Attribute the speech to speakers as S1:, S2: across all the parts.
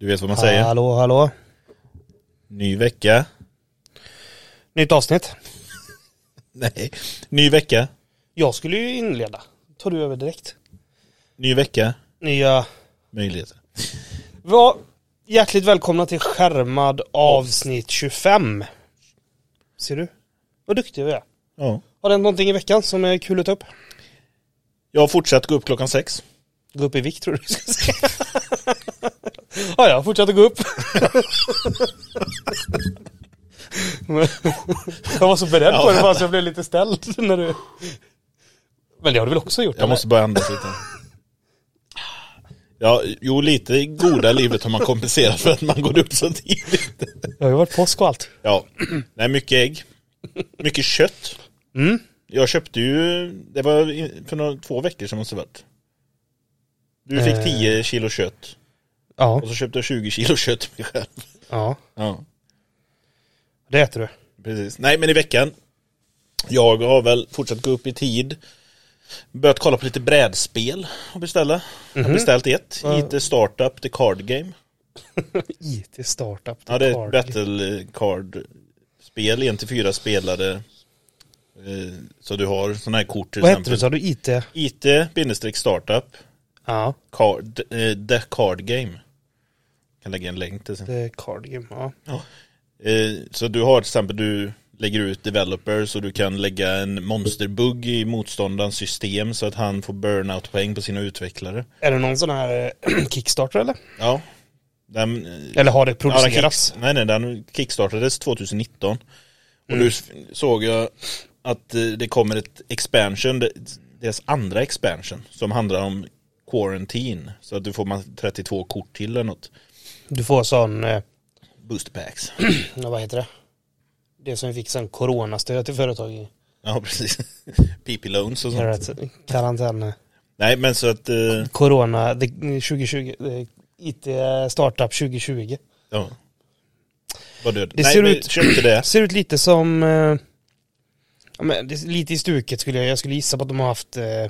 S1: vet vad man säger.
S2: Hallå, hallå.
S1: Ny vecka.
S2: Nytt avsnitt.
S1: Nej. Ny vecka.
S2: Jag skulle ju inleda. Tar du över direkt.
S1: Ny vecka.
S2: Nya...
S1: Möjligheter.
S2: Var hjärtligt välkomna till Skärmad avsnitt 25. Ser du? Vad duktiga vi är.
S1: Ja.
S2: Har det hänt någonting i veckan som är kul att ta upp?
S1: Jag har fortsatt gå upp klockan sex.
S2: Gå upp i vikt tror du du ska säga. ja, ja, fortsätt att gå upp. Men- jag var så beredd på det bara så jag blev lite ställd när du... Men det har du väl också gjort?
S1: Jag måste börja andas lite. Ja, jo lite i goda livet har man kompenserat för att man går upp så tidigt.
S2: Jag har ju varit påsk och allt.
S1: Ja. Nej, mycket ägg. Mycket kött.
S2: Mm.
S1: Jag köpte ju, det var i- för några, två veckor sedan måste det varit. Du fick
S2: Eh.
S1: 10 kilo kött.
S2: Ja.
S1: Och så köpte jag 20 kilo kött till mig själv.
S2: ja.
S1: Ja.
S2: Det äter du.
S1: Precis. Nej, men i veckan. Jag har väl fortsatt gå upp i tid. Börjat kolla på lite brädspel och beställa. Jag har beställt ett. IT Startup The Card Game.
S2: IT startup.
S1: Ja, det är ett battle card-spel. En till fyra spelare. Eh, Så du har sådana här kort till
S2: Vad hette
S1: exempel.
S2: du? Sa du IT?
S1: IT-startup
S2: Ja.
S1: card, eh, The Card Game. Jag kan lägga en länk till sen.
S2: Det är Cardigan. Ja.
S1: Eh, Så du har till exempel, du lägger ut developers och du kan lägga en monsterbugg i motståndarens system så att han får burnout-poäng på sina utvecklare.
S2: Är det någon sån här eh, Kickstarter eller?
S1: Ja. Den, eh,
S2: Eller har det
S1: ja, den
S2: producerats?
S1: kicks- nej, nej, den kickstartades 2019. Och nu s- såg jag att eh, det kommer ett expansion, det- deras andra expansion, som handlar om quarantine. Så att du får man 32 kort till eller något.
S2: Du får sån, eh,
S1: Booster packs.
S2: ja, vad heter det? Det som vi fick sen coronastöd till företag i.
S1: Ja, precis. PP-loans och
S2: Är det
S1: sånt.
S2: rätt? Karantän. eh.
S1: Nej, men så att... eh,
S2: Corona det, 2020. eh, IT startup 2020.
S1: Ja. Var död.
S2: Det
S1: Nej,
S2: ser
S1: men
S2: ut-
S1: köpte det.
S2: Ser ut lite som... Eh, ja, men det, är lite i stuket skulle jag... Jag skulle gissa på att de har haft... Eh,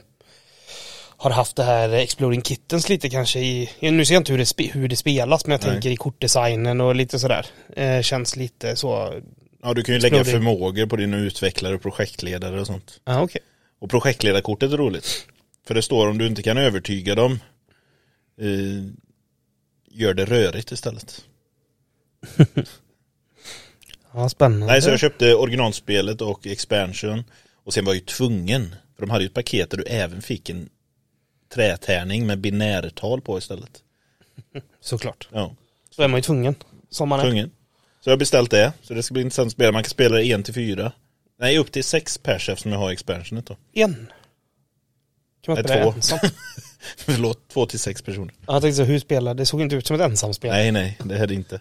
S2: har haft det här Exploring Kittens lite kanske i... ja, Nu ser jag inte hur det, spe, hur det spelas men jag
S1: Nej.
S2: tänker i kortdesignen och lite sådär. Eh, känns lite så...
S1: Ja, du kan ju lägga
S2: Exploding.
S1: förmågor på dina utvecklare och projektledare och sånt.
S2: Ja okej.
S1: Och projektledarkortet är roligt. För det står om du inte kan övertyga dem, eh, gör det rörigt istället.
S2: Ja spännande.
S1: Nej, så jag köpte originalspelet och expansion. Och sen var jag ju tvungen, för de hade ju ett paket där du även fick en trätärning med binärtal på istället.
S2: Såklart.
S1: Ja,
S2: Så är man ju tvungen. Som man är.
S1: tvungen. Så jag har beställt det, så det ska bli intressant att spela. Man kan spela det en till fyra. Nej, upp till sex pers eftersom jag har expansionet då.
S2: En. Kan man
S1: Nej,
S2: spela
S1: två.
S2: ensam?
S1: Förlåt, två till sex personer.
S2: Ja, Jag tänkte så, hur spelar det? såg inte ut som ett ensamspel.
S1: Nej, nej, det är det inte.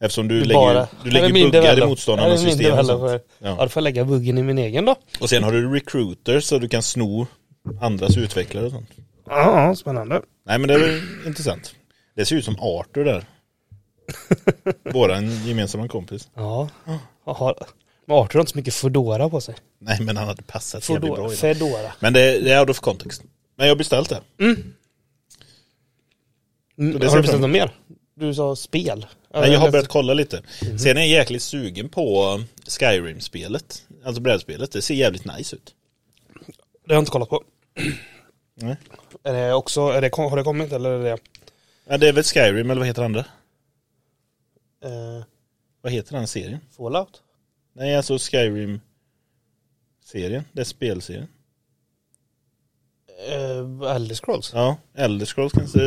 S1: Eftersom du
S2: Det är
S1: lägger,
S2: bara-
S1: du
S2: Här
S1: lägger
S2: är min
S1: buggar i
S2: develop. Här
S1: motståndarnas
S2: är min
S1: system. Och,
S2: develop.
S1: sånt.
S2: Ja,
S1: ja.
S2: då får jag lägga buggen i min egen då.
S1: och sen har du recruiters så du kan sno andras utvecklare och sånt.
S2: Ja, spännande.
S1: Nej, men det är väl intressant. Det ser ut som Arthur där. Våran gemensamma kompis.
S2: Ja. Jaha. Men Arthur har inte så mycket Foodora på sig.
S1: Nej, men han hade passat jävligt bra
S2: Foodora.
S1: i det.
S2: Fedora.
S1: Men det, det är out of context. Men jag har beställt det.
S2: Mm,
S1: det
S2: har
S1: ser jag
S2: du beställt
S1: fram
S2: något mer? Du sa spel.
S1: Nej, jag har börjat kolla lite. Sen är jag jäkligt sugen på um, Skyrim-spelet. Alltså brädspelet. Det ser jävligt nice ut.
S2: Det har jag inte kollat på.
S1: Nej.
S2: Är det också, är det, har det kommit eller är det...
S1: Ja, det är väl Skyrim, eller vad heter andra?
S2: Eh,
S1: Vad heter den serien?
S2: Fallout?
S1: Nej, alltså Skyrim-serien. Det är spelserien.
S2: Eh, Elder Scrolls?
S1: Ja, Elder Scrolls kanske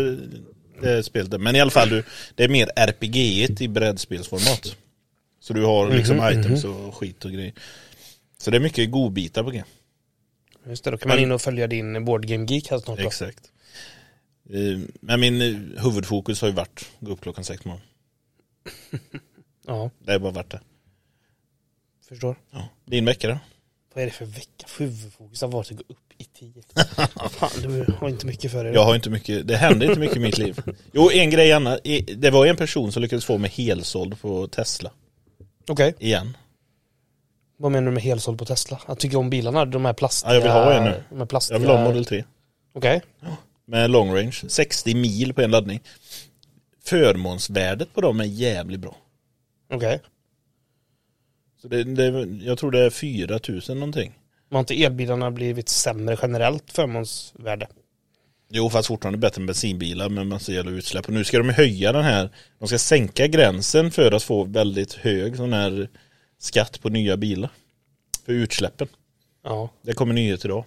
S1: det är spelet. Men i alla fall, du, det är mer rpg i brädspelsformat. Så du har liksom items och skit och grejer. Så det är mycket godbitar på g.
S2: Just det, då kan man in och följa din Board Game Geek här snart då.
S1: Exakt. Eh, Men min eh, huvudfokus har ju varit att gå upp klockan sex på morgonen.
S2: Ja,
S1: Det har bara varit det.
S2: förstår.
S1: Ja. Din vecka då?
S2: Vad är det för vecka? Huvudfokus har varit att gå upp i tid. Fan, du har inte mycket för dig.
S1: Jag har inte mycket, det hände inte mycket i mitt liv. Jo, en grej annan. I- Det var en person som lyckades få mig helsåld på Tesla.
S2: Okej.
S1: Igen.
S2: Vad menar du med helsåld på Tesla? Jag tycker om bilarna, de här plastiga...
S1: Ja, jag vill ha en nu.
S2: De här plastiga...
S1: Jag vill ha Model 3.
S2: Okej.
S1: Med long range. 60 mil på en laddning. förmånsvärdet på dem är jävligt bra.
S2: Okej.
S1: Så det, det, jag tror det är 4000 någonting.
S2: Men har inte elbilarna blivit sämre generellt förmånsvärde?
S1: Jo, fast fortfarande bättre än bensinbilar med massa jävla utsläpp. Och nu ska de höja den här, de ska sänka gränsen för att få väldigt hög sån här skatt på nya bilar. För utsläppen.
S2: Ja.
S1: Det kommer nyhet idag.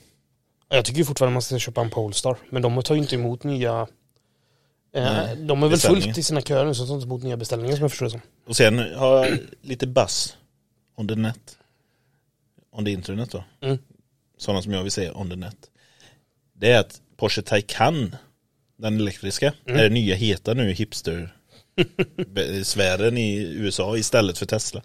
S2: Ja, Jag tycker ju fortfarande man ska köpa en Polestar. Men de tar ju inte emot nya... Eh,
S1: Nej,
S2: de är väl
S1: beställningar.
S2: fullt i sina köer nu så de tar inte emot nya beställningar som jag förstår det som.
S1: Och sen har jag lite buzz on the net. On the internet då.
S2: Mm.
S1: Sådana som jag vill säga on the net. Det är att Porsche Taycan, den elektriska,
S2: Mm.
S1: är den nya heta nu hipster sfären i USA istället för Tesla.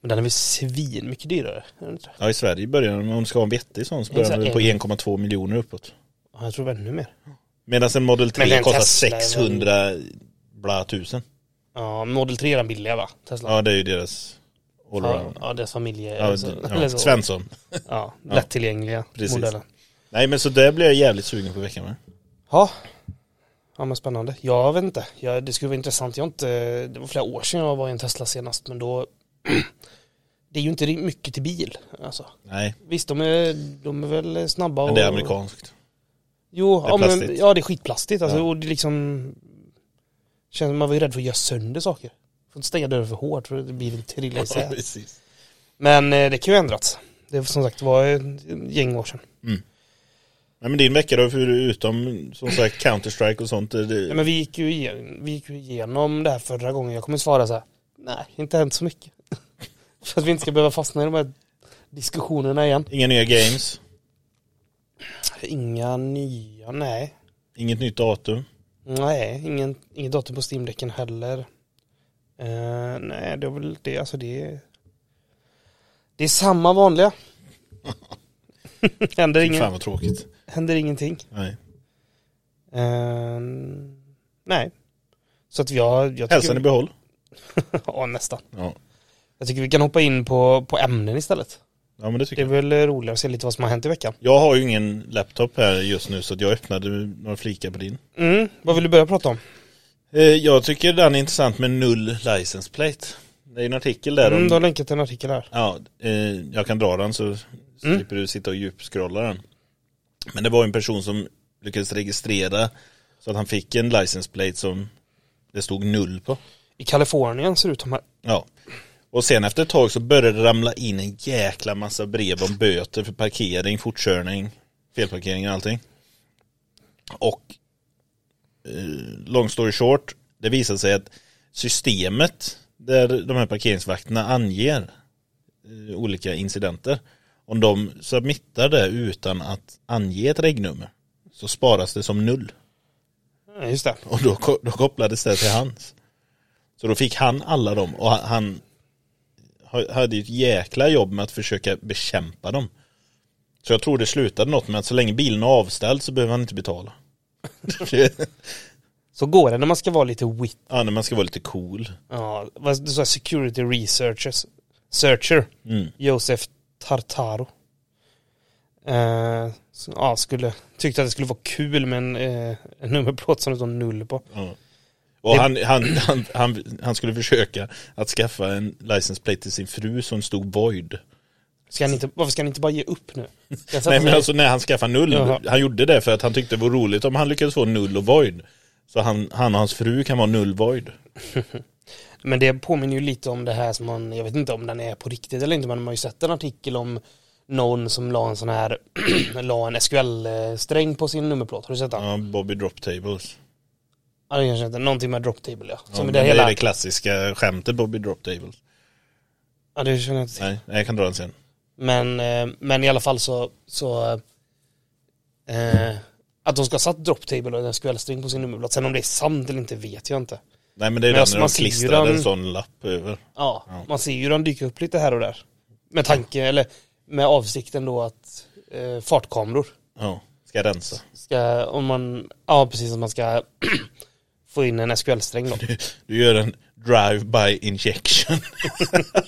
S2: Men den är väl svin mycket dyrare? är den inte?
S1: Ja i Sverige börjar den, om du ska ha en vettig sån så börjar den väl
S2: Mm.
S1: på 1,2 miljoner uppåt.
S2: Ja, jag tror det var ännu mer.
S1: Medan en Model 3
S2: en
S1: kostar
S2: Tesla är väl-
S1: 600 bla tusen.
S2: Ja, Model 3 är den billiga va? Tesla.
S1: Ja det är ju deras
S2: ja,
S1: allround.
S2: ja deras familje...
S1: Ja,
S2: alltså,
S1: det-
S2: eller
S1: ja.
S2: så.
S1: Svensson.
S2: Ja, lättillgängliga
S1: Precis.
S2: modellen.
S1: Nej men så det blir jag jävligt sugen på veckan med.
S2: Ja. Ja men spännande. Jag vet inte. Jag, det skulle vara intressant. Jag har inte, det var flera år sedan jag var i en Tesla senast men då Det är ju inte mycket till bil. Alltså.
S1: Nej
S2: Visst de är, de är väl snabba och
S1: Men det är amerikanskt.
S2: Jo,
S1: är
S2: ja, men,
S1: plastigt.
S2: ja det är skitplastigt alltså,
S1: Ja.
S2: och det är liksom känns, Man var ju rädd för att göra sönder saker. Får inte stänga dörren för hårt för det blir väl trilla isär.
S1: precis.
S2: Men eh, det kan ju ändras. Det var som sagt var ett gäng år sedan.
S1: Nej, men din vecka då, förutom som sagt Counter-Strike och sånt. Det,
S2: Ja, men vi gick, ju igen, vi gick ju igenom det här förra gången. Jag kommer svara så här. Nej, inte hänt så mycket. För att vi inte ska behöva fastna i de här diskussionerna igen.
S1: Inga nya games,
S2: Inga nya, nej.
S1: inget nytt datum.
S2: Nej, ingen, ingen datum på Steam-däcken heller. Eh, nej, det var väl det. Alltså det är... Det är samma vanliga. händer,
S1: Fy
S2: ingen,
S1: Fan vad tråkigt.
S2: händer ingenting.
S1: Nej.
S2: Eh, nej. Så att jag... jag
S1: Hälsan i
S2: tycker,
S1: behåll.
S2: ja, nästan.
S1: Ja.
S2: Jag tycker vi kan hoppa in på, på ämnen istället.
S1: ja, men det tycker
S2: Det
S1: jag.
S2: är väl roligare att se lite vad som har hänt i veckan.
S1: Jag har ju ingen laptop här just nu så att jag öppnade några flikar på din.
S2: Mm, vad vill du börja prata om?
S1: Eh, jag tycker den är intressant med null license plate. Det är en artikel där
S2: Mm,
S1: om...
S2: du har länkat en artikel här.
S1: Ja, eh, jag kan dra den så slipper du sitta och djupscrolla den. Men det var en person som lyckades registrera så att han fick en license plate som det stod null på.
S2: I Kalifornien ser det ut som här.
S1: Ja. Och sen efter ett tag så började det ramla in en jäkla massa brev om böter för parkering, fortkörning, felparkering och allting. Och eh, long story short, det visade sig att systemet där de här parkeringsvakterna anger eh, olika incidenter, om de submittar det utan att ange ett regnummer så sparas det som null.
S2: Ja, just det.
S1: Och då, ko- då kopplades det till hans. Så då fick han alla dem och han- han ha- hade ju ett jäkla jobb med att försöka bekämpa dem. Så jag tror det slutade något med att så länge bilen är avställd så behöver han inte betala.
S2: Så går det när man ska vara lite wit.
S1: ja, när man ska vara lite cool.
S2: Ja, vad du sa, security researchers. Searcher.
S1: Mm.
S2: Josef Tartaro. Eh, så, ja, skulle, tyckte att det skulle vara kul med en, eh, en nummerplåt som det står null på.
S1: Ja. Och han, han, han, han, han skulle försöka att skaffa en license plate till sin fru som stod void.
S2: Ska han inte, varför ska han inte bara ge upp nu? Ska han sätta
S1: Nej men
S2: sig-
S1: alltså när han skaffade null,
S2: Jaha.
S1: han gjorde det för att han tyckte det var roligt om han lyckades få null och void. Så han, han och hans fru kan vara null void.
S2: Men det påminner ju lite om det här som man, jag vet inte om den är på riktigt eller inte, men man har ju sett en artikel om någon som la en sån här, la en SQL-sträng på sin nummerplåt. Har du sett den? Ja.
S1: Ja, Bobby Drop Tables.
S2: det kanske inte, någonting med drop table ja.
S1: Ja,
S2: Som
S1: men
S2: det
S1: det
S2: hela,
S1: är det klassiska skämtet Bobby Drop Tables.
S2: ja det känner jag inte till.
S1: Nej, nej, jag kan dra den sen.
S2: Men, eh, men i alla fall så, så eh, att de ska ha satt drop table och en SQL-sträng på sin nummerplåt. Sen om det är sant eller inte vet jag inte.
S1: Nej men det är
S2: Men
S1: den
S2: alltså,
S1: när
S2: man
S1: de
S2: ser ju
S1: klistrar
S2: den-
S1: en sån lapp över.
S2: Ja,
S1: Ja.
S2: man ser ju den dyka upp lite här och där. Med tanke, eller med avsikten då att eh, fartkameror
S1: Ja, ska jag rensa.
S2: ska, om man, ja precis, att man ska få in en SQL-sträng då.
S1: Du gör en drive-by injection.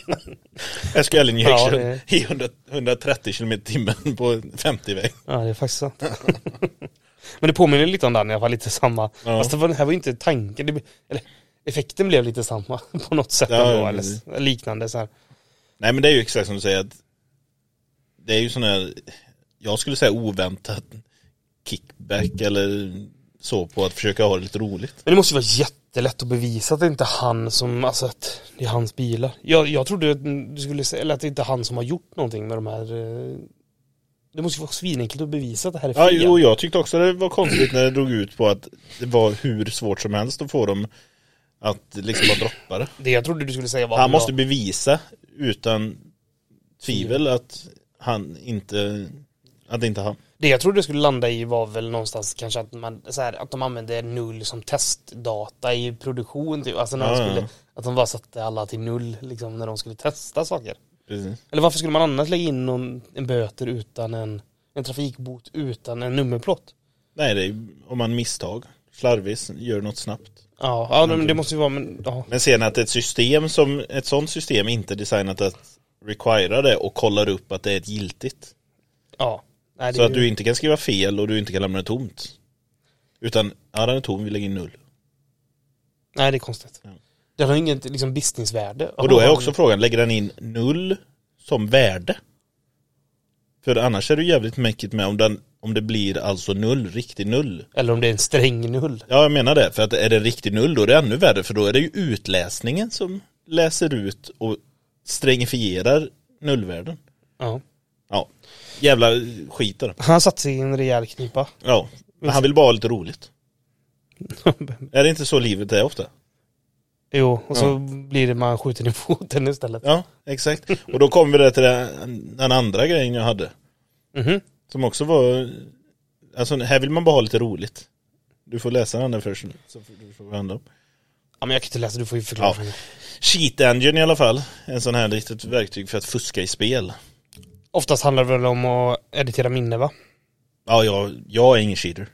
S1: SQL
S2: Ja,
S1: injection
S2: det-
S1: i 100, 130 km timmen på 50-väg.
S2: Ja, det är faktiskt sant. Men det påminner lite om den i alla fall, lite samma.
S1: Ja.
S2: Fast det var, det här var ju inte tanken. Det, blev- eller, effekten blev lite samma på något sätt
S1: Ja,
S2: ändå,
S1: ja,
S2: eller s- liknande så här.
S1: Nej men det är ju exakt som du säger att Det är ju sån här Jag skulle säga oväntat kickback eller så på att försöka ha det lite roligt.
S2: Men det måste ju vara jättelätt att bevisa att det inte är han som, alltså att det är hans bilar. Jag, jag trodde att du skulle säga, eller att det inte är han som har gjort någonting med de här. eh, Det måste ju vara svinenkelt att bevisa att det här är
S1: Ja,
S2: fel.
S1: jo, jag tyckte också det var konstigt när det drog ut på att det var hur svårt som helst att få dem att liksom bara droppa det.
S2: Det jag trodde du skulle säga var
S1: Han måste bevisa utan tvivel att han inte, att det inte är han.
S2: Det jag trodde det skulle landa i var väl någonstans kanske att, man, så här, att de använde null som testdata i produktion. Typ. Alltså när de
S1: Ja, ja,
S2: skulle,
S1: ja.
S2: Att de bara satte alla till null liksom, när de skulle testa saker.
S1: Precis.
S2: Eller varför skulle man annars lägga in någon, en böter utan en, en trafikbot utan en nummerplåt?
S1: Nej, det är ju om man misstag, slarvis, gör något snabbt.
S2: Ja, ja men det måste ju vara, men ja.
S1: Men sen att ett system som, ett sånt system inte är designat att requira det och kollar upp att det är ett giltigt.
S2: ja. Nej, det
S1: Så
S2: är
S1: att
S2: ju-
S1: du inte kan skriva fel och du inte kan lämna det tomt. Utan, ja den är tom, vi lägger in null.
S2: nej, det är konstigt.
S1: Ja.
S2: Den har inget liksom, businessvärde.
S1: Och då är
S2: Ja,
S1: också frågan, lägger den in null som värde? För annars är det ju jävligt mäckigt med om, den, om det blir alltså null, riktig null.
S2: Eller om det är en sträng null.
S1: Ja jag menar det, för att är det en riktig null då är det ännu värre för då är det ju utläsningen som läser ut och strängifierar nullvärden.
S2: Ja.
S1: Ja, jävla skit är det.
S2: Han satt sig i en rejäl knipa.
S1: Ja, men han vill bara ha lite roligt. Är det inte så livet är ofta?
S2: jo, och så blir det man skjuten i foten istället.
S1: Ja, exakt. Och då kommer vi där till den- den andra grejen jag hade.
S2: Mhm.
S1: Som också var, alltså här vill man bara ha lite roligt. Du får läsa den där först nu, så får du får handla om.
S2: Ja men jag kan inte läsa, du får ju förklara
S1: Ja.
S2: för mig.
S1: Cheat Engine i alla fall. En sån här litet verktyg för att fuska i spel.
S2: Oftast handlar det väl om att editera minne va?
S1: Ja, jag, jag är ingen cheater.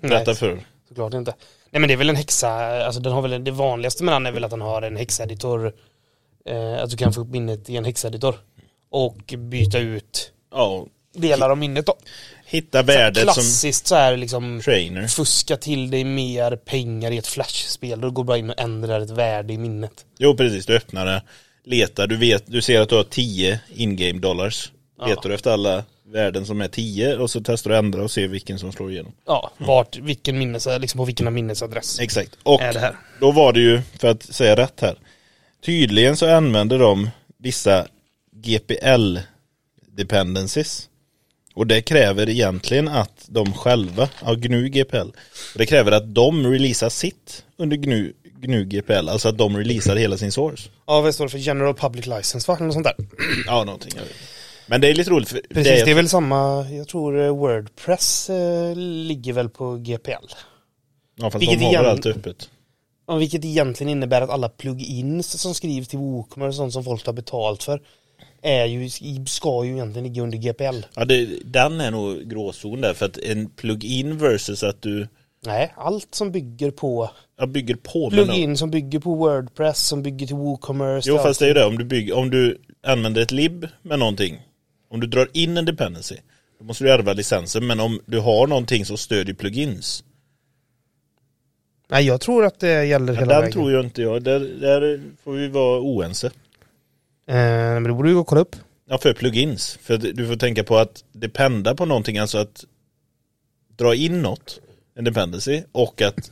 S1: Berätta för dig.
S2: Såklart inte. Nej men det är väl en häxa, alltså den har väl, det vanligaste med den är väl att den har en häxeditor. Eh, att du kan få upp minnet i en häxeditor. Och byta ut
S1: Ja,
S2: delar av minnet då.
S1: hitta värdet som
S2: Klassiskt så här liksom
S1: trainer.
S2: fuska till dig mer pengar i ett flashspel. Då går du bara in och ändrar ett värde i minnet.
S1: Jo precis, du öppnar det, letar, du, vet, du ser att du har 10 in-game dollars.
S2: Ja.
S1: Letar du efter alla värden som är 10 och så testar du att ändra och ser vilken som slår igenom.
S2: Ja, vart, vilken minnes, liksom på vilken minnesadress.
S1: Exakt, och
S2: Är det här.
S1: då var det ju, för att säga rätt här, tydligen så använder de vissa GPL dependencies. Och det kräver egentligen att de själva, ja GNU GPL, och det kräver att de releasar sitt under GNU, GNU GPL, alltså att de releasar hela sin source.
S2: Ja, vad står det för? General Public License va? Eller något sånt där.
S1: Ja, någonting. jag vet inte. Men det är lite roligt. För
S2: Precis, det,
S1: det
S2: är väl samma, jag tror eh, Wordpress eh, ligger väl på GPL.
S1: ja, fast
S2: vilket
S1: de har
S2: igen-
S1: väl allt öppet.
S2: Ja, Vilket egentligen innebär att alla plugins som skrivs till WooCommerce och sånt som folk har betalt för är ju, ska ju egentligen ligga under GPL.
S1: Ja, det, den är nog gråzon där. För att en plug-in versus att du
S2: Nej, allt som bygger på
S1: ja, bygger på. men-
S2: plugin som bygger på Wordpress, som bygger till WooCommerce.
S1: Jo,
S2: allt.
S1: fast det är ju det. Om du, bygger, om du använder ett lib med någonting. Om du drar in en dependency. Då måste du ärva licensen. Men om du har någonting som stödjer plugins.
S2: Nej, jag tror att det gäller
S1: Ja,
S2: hela
S1: den
S2: vägen.
S1: tror jag inte jag. Där, där får vi vara oense.
S2: Eh, men det borde vi gå och kolla upp.
S1: Ja, för plugins. För att du får tänka på att dependa på någonting, alltså att dra in något, en dependency, och att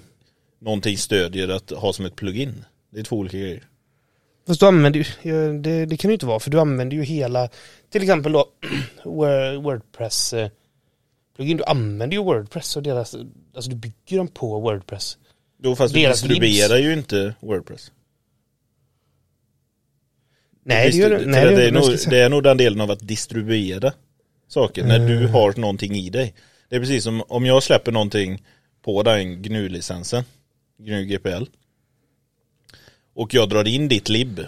S1: någonting stödjer att ha som ett plugin. Det är två olika grejer.
S2: Fast du använder ju, ja, det, det kan det ju inte vara, för du använder ju hela, till exempel då Word- Wordpress eh, plugin, du använder ju Wordpress och deras, alltså du bygger dem på Wordpress.
S1: Jo, fast du
S2: Deras
S1: distribuerar ju inte Wordpress.
S2: Nej, det
S1: Visst,
S2: gör du
S1: för
S2: nej,
S1: det,
S2: det
S1: är
S2: gör du
S1: nog,
S2: inte.
S1: det är nog den delen av att distribuera saker, när du
S2: Mm.
S1: har någonting i dig. Det är precis som om jag släpper någonting på den GNU-licensen, GNU GPL, och jag drar in ditt lib,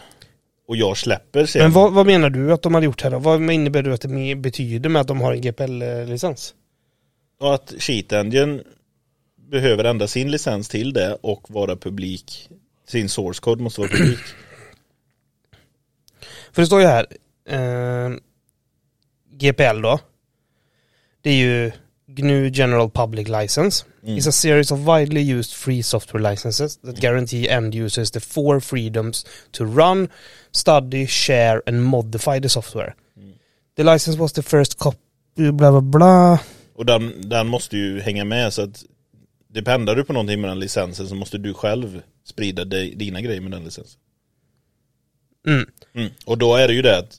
S1: och jag släpper sen
S2: Men vad, vad menar du att de hade gjort här då? Vad innebär du att det me- betyder med att de har en GPL-licens?
S1: Och att Cheat Engine behöver ändra sin licens till det och vara publik. Sin source code måste vara publik.
S2: För det står ju här, eh, GPL då, det är ju GNU General Public License
S1: Mm.
S2: is a series of widely used free software licenses that guarantee end users the four freedoms to run, study, share and modify the software.
S1: Mm.
S2: The license was the first copy, blah blah blah.
S1: Och den, den måste ju hänga med så att dependar du på någonting med den licensen så måste du själv sprida dig, dina grejer med den licensen.
S2: Mm.
S1: Mm. Och då är det ju det att,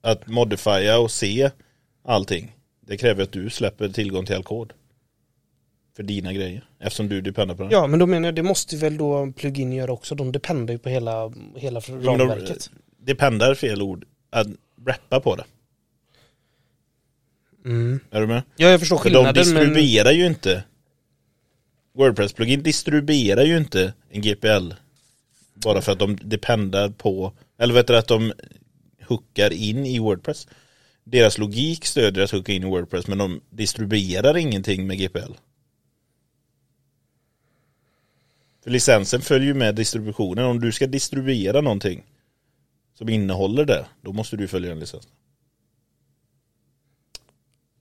S1: att modifiera och se allting. Det kräver att du släpper tillgång till all kod. För dina grejer. Eftersom du dependar på den.
S2: Ja, men då menar jag, det måste väl då plugin göra också. De dependar ju på hela, hela
S1: Jo, men de-
S2: ramverket.
S1: Dependar är fel ord. Att rappa på det.
S2: Mm.
S1: Är du med?
S2: Ja, jag förstår
S1: För de
S2: skillnaden, men...
S1: distribuerar ju inte Wordpress-plugin distribuerar ju inte en GPL bara för att de dependar på eller vet du att de hookar in i Wordpress. Deras logik stödjer att hooka in i Wordpress men de distribuerar ingenting med GPL. För licensen följer ju med distributionen. Om du ska distribuera någonting som innehåller det, då måste du följa en licens.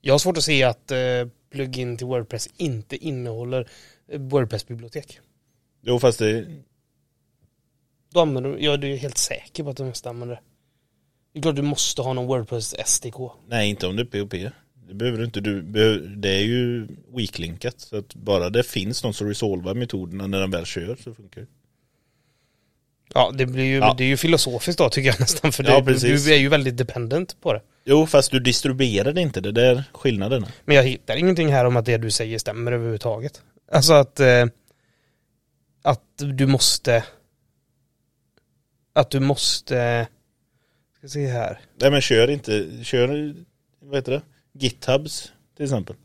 S2: Jag har svårt att se att eh, plugin till Wordpress inte innehåller eh, Wordpress-bibliotek.
S1: Jo fast det,
S2: Då använder du, jag är ju helt säker på att de mesta använder det. Det är klart du måste ha någon Wordpress SDK.
S1: Nej, inte om det är POP. Det behöver du inte. Du behöver, det är ju weaklinkat. Så att bara det finns någon som resolvar metoderna när den väl kör så funkar det.
S2: Ja, det blir ju,
S1: Ja.
S2: det är ju filosofiskt då tycker jag nästan. För
S1: Ja,
S2: det, du,
S1: precis.
S2: du är ju väldigt dependent på det.
S1: Jo, fast du distribuerade inte. Det där är skillnaden.
S2: Men jag hittar ingenting här om att det du säger stämmer överhuvudtaget. Alltså att, eh, att du måste, att du måste, ska se här.
S1: Nej, men kör inte. Kör, vad heter det? GitHubs till exempel.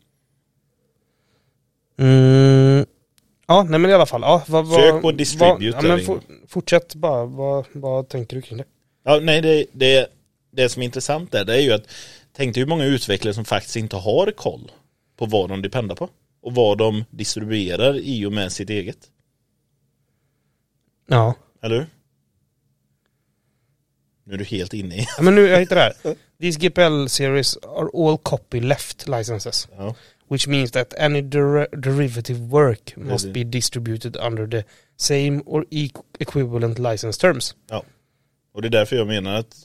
S2: Mm. Ja, nej men i alla fall. Ja, vad, vad,
S1: Sök på distribute
S2: Vad, ja,
S1: där
S2: men
S1: inne.
S2: for, fortsätt bara, vad, vad tänker du kring det?
S1: Ja, nej, det, det, det som är intressant där, det är ju att tänk dig hur många utvecklare som faktiskt inte har koll på vad de dependar på och vad de distribuerar i och med sitt eget.
S2: Ja.
S1: Eller hur? Nu är du helt inne i...
S2: ja men nu, jag hittar det här. These GPL series are all copy left licenses.
S1: Ja.
S2: Which means that any der derivative work
S1: det.
S2: must be distributed under the same or equ- equivalent license terms.
S1: Och det är därför jag menar att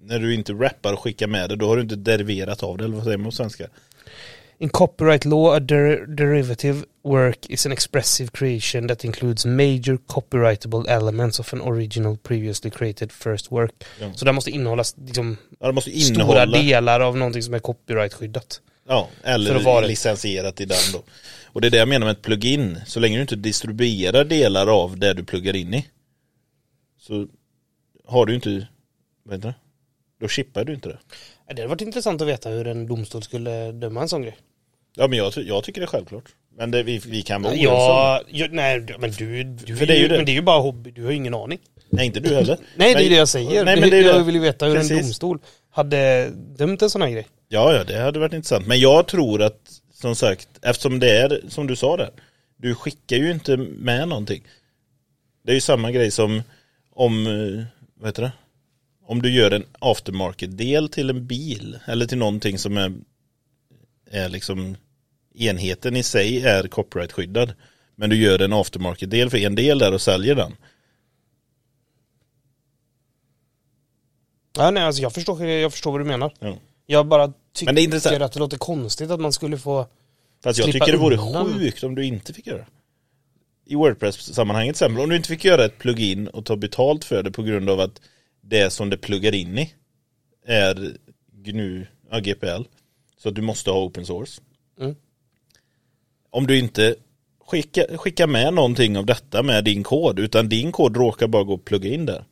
S1: när du inte rappar och skickar med det, då har du inte deriverat av det, eller vad säger man på svenska?
S2: In copyright law, a der derivative work is an expressive creation that includes major copyrightable elements of an original previously created first work.
S1: Ja.
S2: Så det måste innehållas liksom,
S1: Ja, det måste ju
S2: stora
S1: innehålla,
S2: delar av någonting som är copyrightskyddat.
S1: ja,
S2: för
S1: eller
S2: att vara-
S1: licensierat i den då. Och det är det jag menar med ett plugin, så länge du inte distribuerar delar av det du pluggar in i, så har du inte, vad heter det? Då chippar du inte det.
S2: Ja, Det hade varit intressant att veta hur en domstol skulle döma en sån grej.
S1: Ja, men jag, ty- jag tycker det är självklart. Men det, vi, vi kan vara oense om det.
S2: Ja, ja, nej, du- men du, du
S1: För det är ju det.
S2: men det är ju bara hobby, du har ju ingen aning.
S1: Nej, inte du heller.
S2: Nej, det är
S1: Men-
S2: ju det jag säger.
S1: Nej, men det är ju
S2: jag
S1: det.
S2: vill ju veta hur en
S1: Precis.
S2: domstol hade dömt en sån här grej.
S1: Ja, ja, det hade varit intressant. Men jag tror att, som sagt, eftersom det är som du sa där, du skickar ju inte med någonting. Det är ju samma grej som om, eh, vad heter det? Om du gör en aftermarket-del till en bil eller till någonting som är, är liksom enheten i sig är copyright-skyddad. Men du gör en aftermarket-del för en del där och säljer den.
S2: Ja, nej, alltså jag förstår, jag förstår vad du menar.
S1: Ja.
S2: Jag bara tycker
S1: Men det är intressant.
S2: att det låter konstigt att man skulle få...
S1: Fast jag
S2: Slippa
S1: tycker det vore
S2: undan.
S1: sjukt om du inte fick göra det. I Wordpress-sammanhanget till exempel, om du inte fick göra ett plugin och ta betalt för det på grund av att det som det pluggar in i är GNU, ja, GPL. Så att du måste ha open source.
S2: Mm.
S1: Om du inte skickar skicka med någonting av detta med din kod, utan din kod råkar bara gå och plugga in där.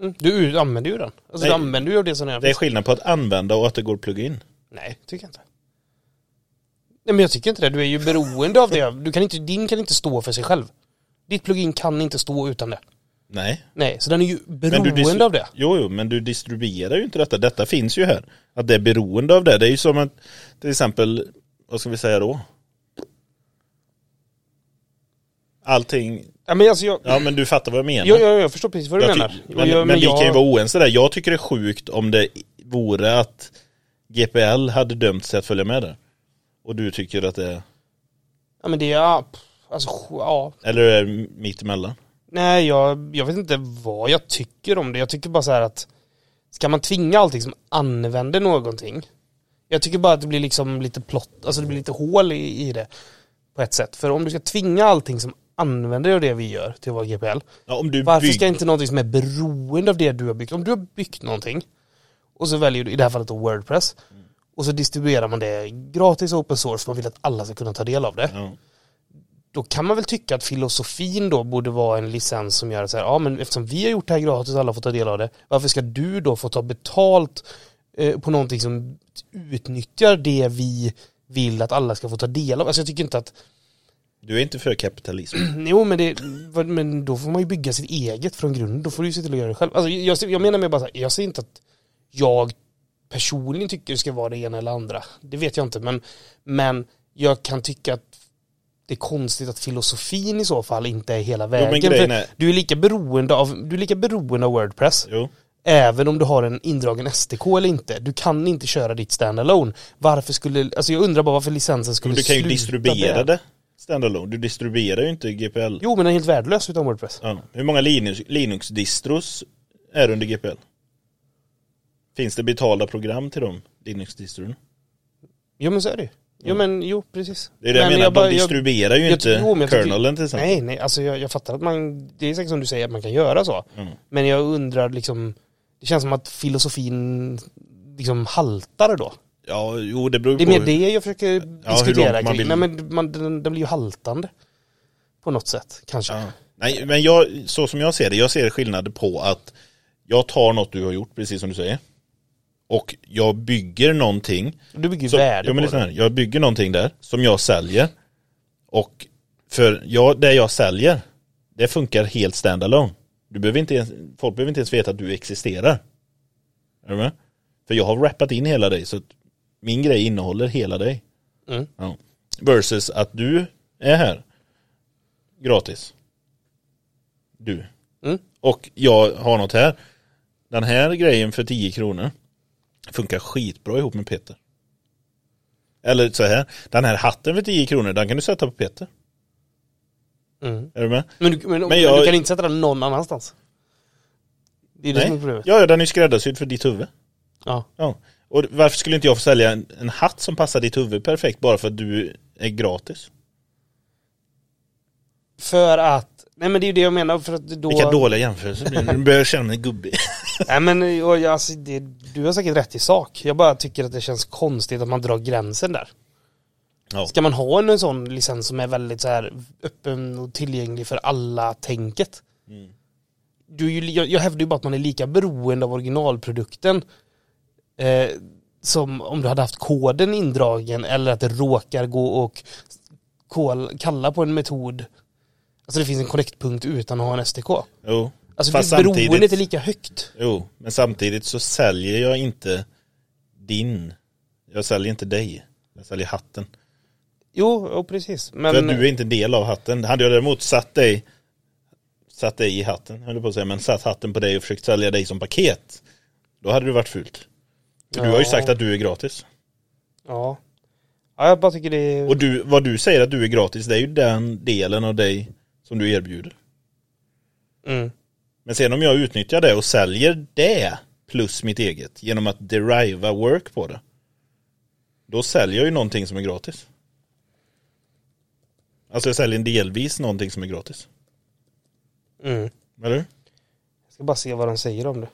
S2: Mm, du använder ju den. Alltså
S1: Nej.
S2: du använder ju det som är...
S1: Det är skillnad på att använda och att det går att plugga in.
S2: Nej, tycker jag inte. Nej men jag tycker inte det. Du är ju beroende av det. Du kan inte, din kan inte stå för sig själv. Ditt plugin kan inte stå utan det.
S1: Nej.
S2: Nej, så den är ju
S1: du
S2: beroende
S1: distri-
S2: av det.
S1: Jo, jo, men du distribuerar ju inte detta. Detta finns ju här. Att det är beroende av det. Det är ju som att till exempel, vad ska vi säga då? Allting,
S2: Ja, men alltså jag,
S1: ja men du fattar vad jag menar.
S2: jag, jag, jag förstår precis vad du
S1: Jag ty-
S2: menar. Och
S1: men
S2: jag,
S1: men vi
S2: jag,
S1: kan ju vara oense där. Jag tycker det är sjukt om det vore att GPL hade dömt sig att följa med där. Och du tycker att det är,
S2: Ja men det är, ja, pff, alltså ja.
S1: eller är det mitt emellan?
S2: Nej jag, jag vet inte vad jag tycker om det. Jag tycker bara så här att ska man tvinga allting som använder någonting? Jag tycker bara att det blir liksom lite plott, alltså det blir lite hål i, i det på ett sätt. För om du ska tvinga allting som använder det vi gör till att vara GPL,
S1: Ja, om du
S2: Varför
S1: bygg-
S2: ska inte någonting som är beroende av det du har byggt, om du har byggt någonting och så väljer du i det här fallet då Wordpress och så distribuerar man det gratis och open source, man vill att alla ska kunna ta del av det.
S1: ja.
S2: Då kan man väl tycka att filosofin då borde vara en licens som gör att så här, ja men eftersom vi har gjort det här gratis och alla får ta del av det, varför ska du då få ta betalt eh, på någonting som utnyttjar det vi vill att alla ska få ta del av? Alltså jag tycker inte att
S1: Du är inte för kapitalism.
S2: Jo men, det, vad- men då får man ju bygga sitt eget från grunden. Då får du ju se till att göra det själv. Alltså, jag, ser- jag menar med bara så här, jag säger inte att jag personligen tycker det ska vara det ena eller andra. Det vet jag inte men, men jag kan tycka att det är konstigt att filosofin i så fall inte är hela
S1: men
S2: vägen.
S1: grejen
S2: För
S1: är-
S2: du, är lika beroende av, du är lika beroende av Wordpress
S1: Jo.
S2: även om du har en indragen SDK eller inte. Du kan inte köra ditt standalone. Varför skulle, alltså jag undrar bara varför licensen skulle
S1: Men du kan ju
S2: sluta
S1: distribuera
S2: där.
S1: det standalone. Du distribuerar ju inte GPL.
S2: Jo men den är helt värdelös utan Wordpress.
S1: Ja. Hur många Linux- Linux-distros är under GPL? Finns det betalda program till dem? Linux-distron?
S2: Jo men så är det ju. Jo men jo precis.
S1: Det är det jag menar, de distribuerar ju inte
S2: jo, men jag tycker-
S1: kernelen till exempel.
S2: Nej nej, alltså jag, jag fattar att man, det är säkert som du säger att man kan göra så.
S1: Mm.
S2: Men jag undrar liksom, det känns som att filosofin liksom haltar då.
S1: Ja, jo det beror
S2: Det är
S1: på.
S2: mer det jag försöker diskutera
S1: långt man
S2: kring.
S1: vill.
S2: Nej men man, den, den blir ju haltande. På något sätt kanske.
S1: Ja. Nej, men jag, så som jag ser det, jag ser skillnad på att jag tar något du har gjort, precis som du säger. Och jag bygger någonting.
S2: Du bygger ju
S1: Som,
S2: värde
S1: ja, men liksom-
S2: på
S1: lyssna
S2: det.
S1: här, jag bygger någonting där som jag säljer. Och för jag, det jag säljer, det funkar helt standalone. Du behöver inte ens, folk behöver inte ens veta att du existerar. Är du med? För jag har rappat in hela dig, så att min grej innehåller hela dig.
S2: Mm.
S1: Ja. Versus att du är här gratis. Du.
S2: Mm.
S1: Och jag har något här. Den här grejen för 10 kronor funkar skitbra ihop med Peter. Eller så här, den här hatten för 10 kronor, den kan du sätta på Peter.
S2: Mm.
S1: Är du med?
S2: Men, du, men, men
S1: jag-
S2: du kan inte sätta den någon annanstans. Det är det som är
S1: Nej.
S2: problemet.
S1: Ja, ja, den är skräddarsydd för ditt huvud.
S2: Ja.
S1: Ja. Och varför skulle inte jag få sälja en, en hatt som passar ditt huvud perfekt bara för att du är gratis?
S2: För att, nej men det är ju det jag menar för att då...
S1: Vilka dåliga jämförelser blir det? Nu börjar jag känna mig gubbig.
S2: Nej men och jag, alltså, det, du har säkert rätt i sak. Jag bara tycker att det känns konstigt att man drar gränsen där.
S1: Ja.
S2: Ska man ha en, en sån licens som är väldigt så här öppen och tillgänglig för alla tänket?
S1: Mm.
S2: Du är ju, li- jag, jag hävdar ju bara att man är lika beroende av originalprodukten eh, som om du hade haft koden indragen eller att det råkar gå och kol, kalla på en metod. Alltså det finns en connect-punkt utan att ha en SDK.
S1: Jo.
S2: Alltså
S1: Fast
S2: beroendet
S1: samtidigt-
S2: är lika högt.
S1: Jo, men samtidigt så säljer jag inte din. Jag säljer inte dig. Jag säljer hatten.
S2: Jo, jo precis.
S1: För
S2: Men,
S1: att du är inte en del av hatten. Hade jag däremot satt dig, satt dig i hatten, höll jag på att säga, men satt hatten på dig och försökt sälja dig som paket, då hade det varit fult. För du har ju
S2: Ja.
S1: sagt att du är gratis.
S2: ja. ja, jag bara tycker det är...
S1: Och du, vad du säger att du är gratis, det är ju den delen av dig som du erbjuder.
S2: Mm.
S1: Men sen om jag utnyttjar det och säljer det plus mitt eget genom att deriva work på det. Då säljer jag ju någonting som är gratis. Alltså jag säljer en delvis någonting som är gratis.
S2: Mm. Jag
S1: Eller hur?
S2: ska bara se vad de säger om det.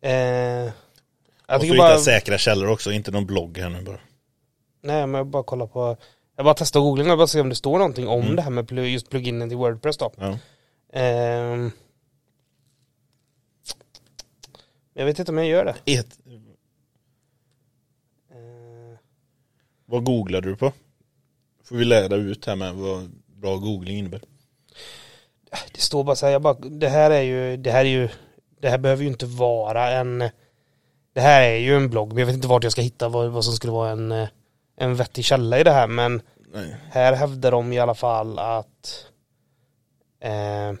S2: Eh, jag
S1: Måste
S2: tycker
S1: vi hitta
S2: bara...
S1: säkra källor också, inte någon blogg här nu bara.
S2: Nej, men jag bara kollar på... Jag bara testar googling och bara se om det står någonting om
S1: Mm.
S2: det här med pl- just pluginen till Wordpress då.
S1: Ja.
S2: Ehm. jag vet inte om jag gör det.
S1: Ett,
S2: Eh,
S1: vad googlade du på? Får vi lära ut här med vad bra googling innebär.
S2: Det står bara så här, jag bara, det här är ju, det här är ju, det här behöver ju inte vara en, det här är ju en blogg, men jag vet inte vart jag ska hitta vad, vad som skulle vara en, eh, en vettig källa i det här, men
S1: Nej.
S2: här hävdar de i alla fall att eh,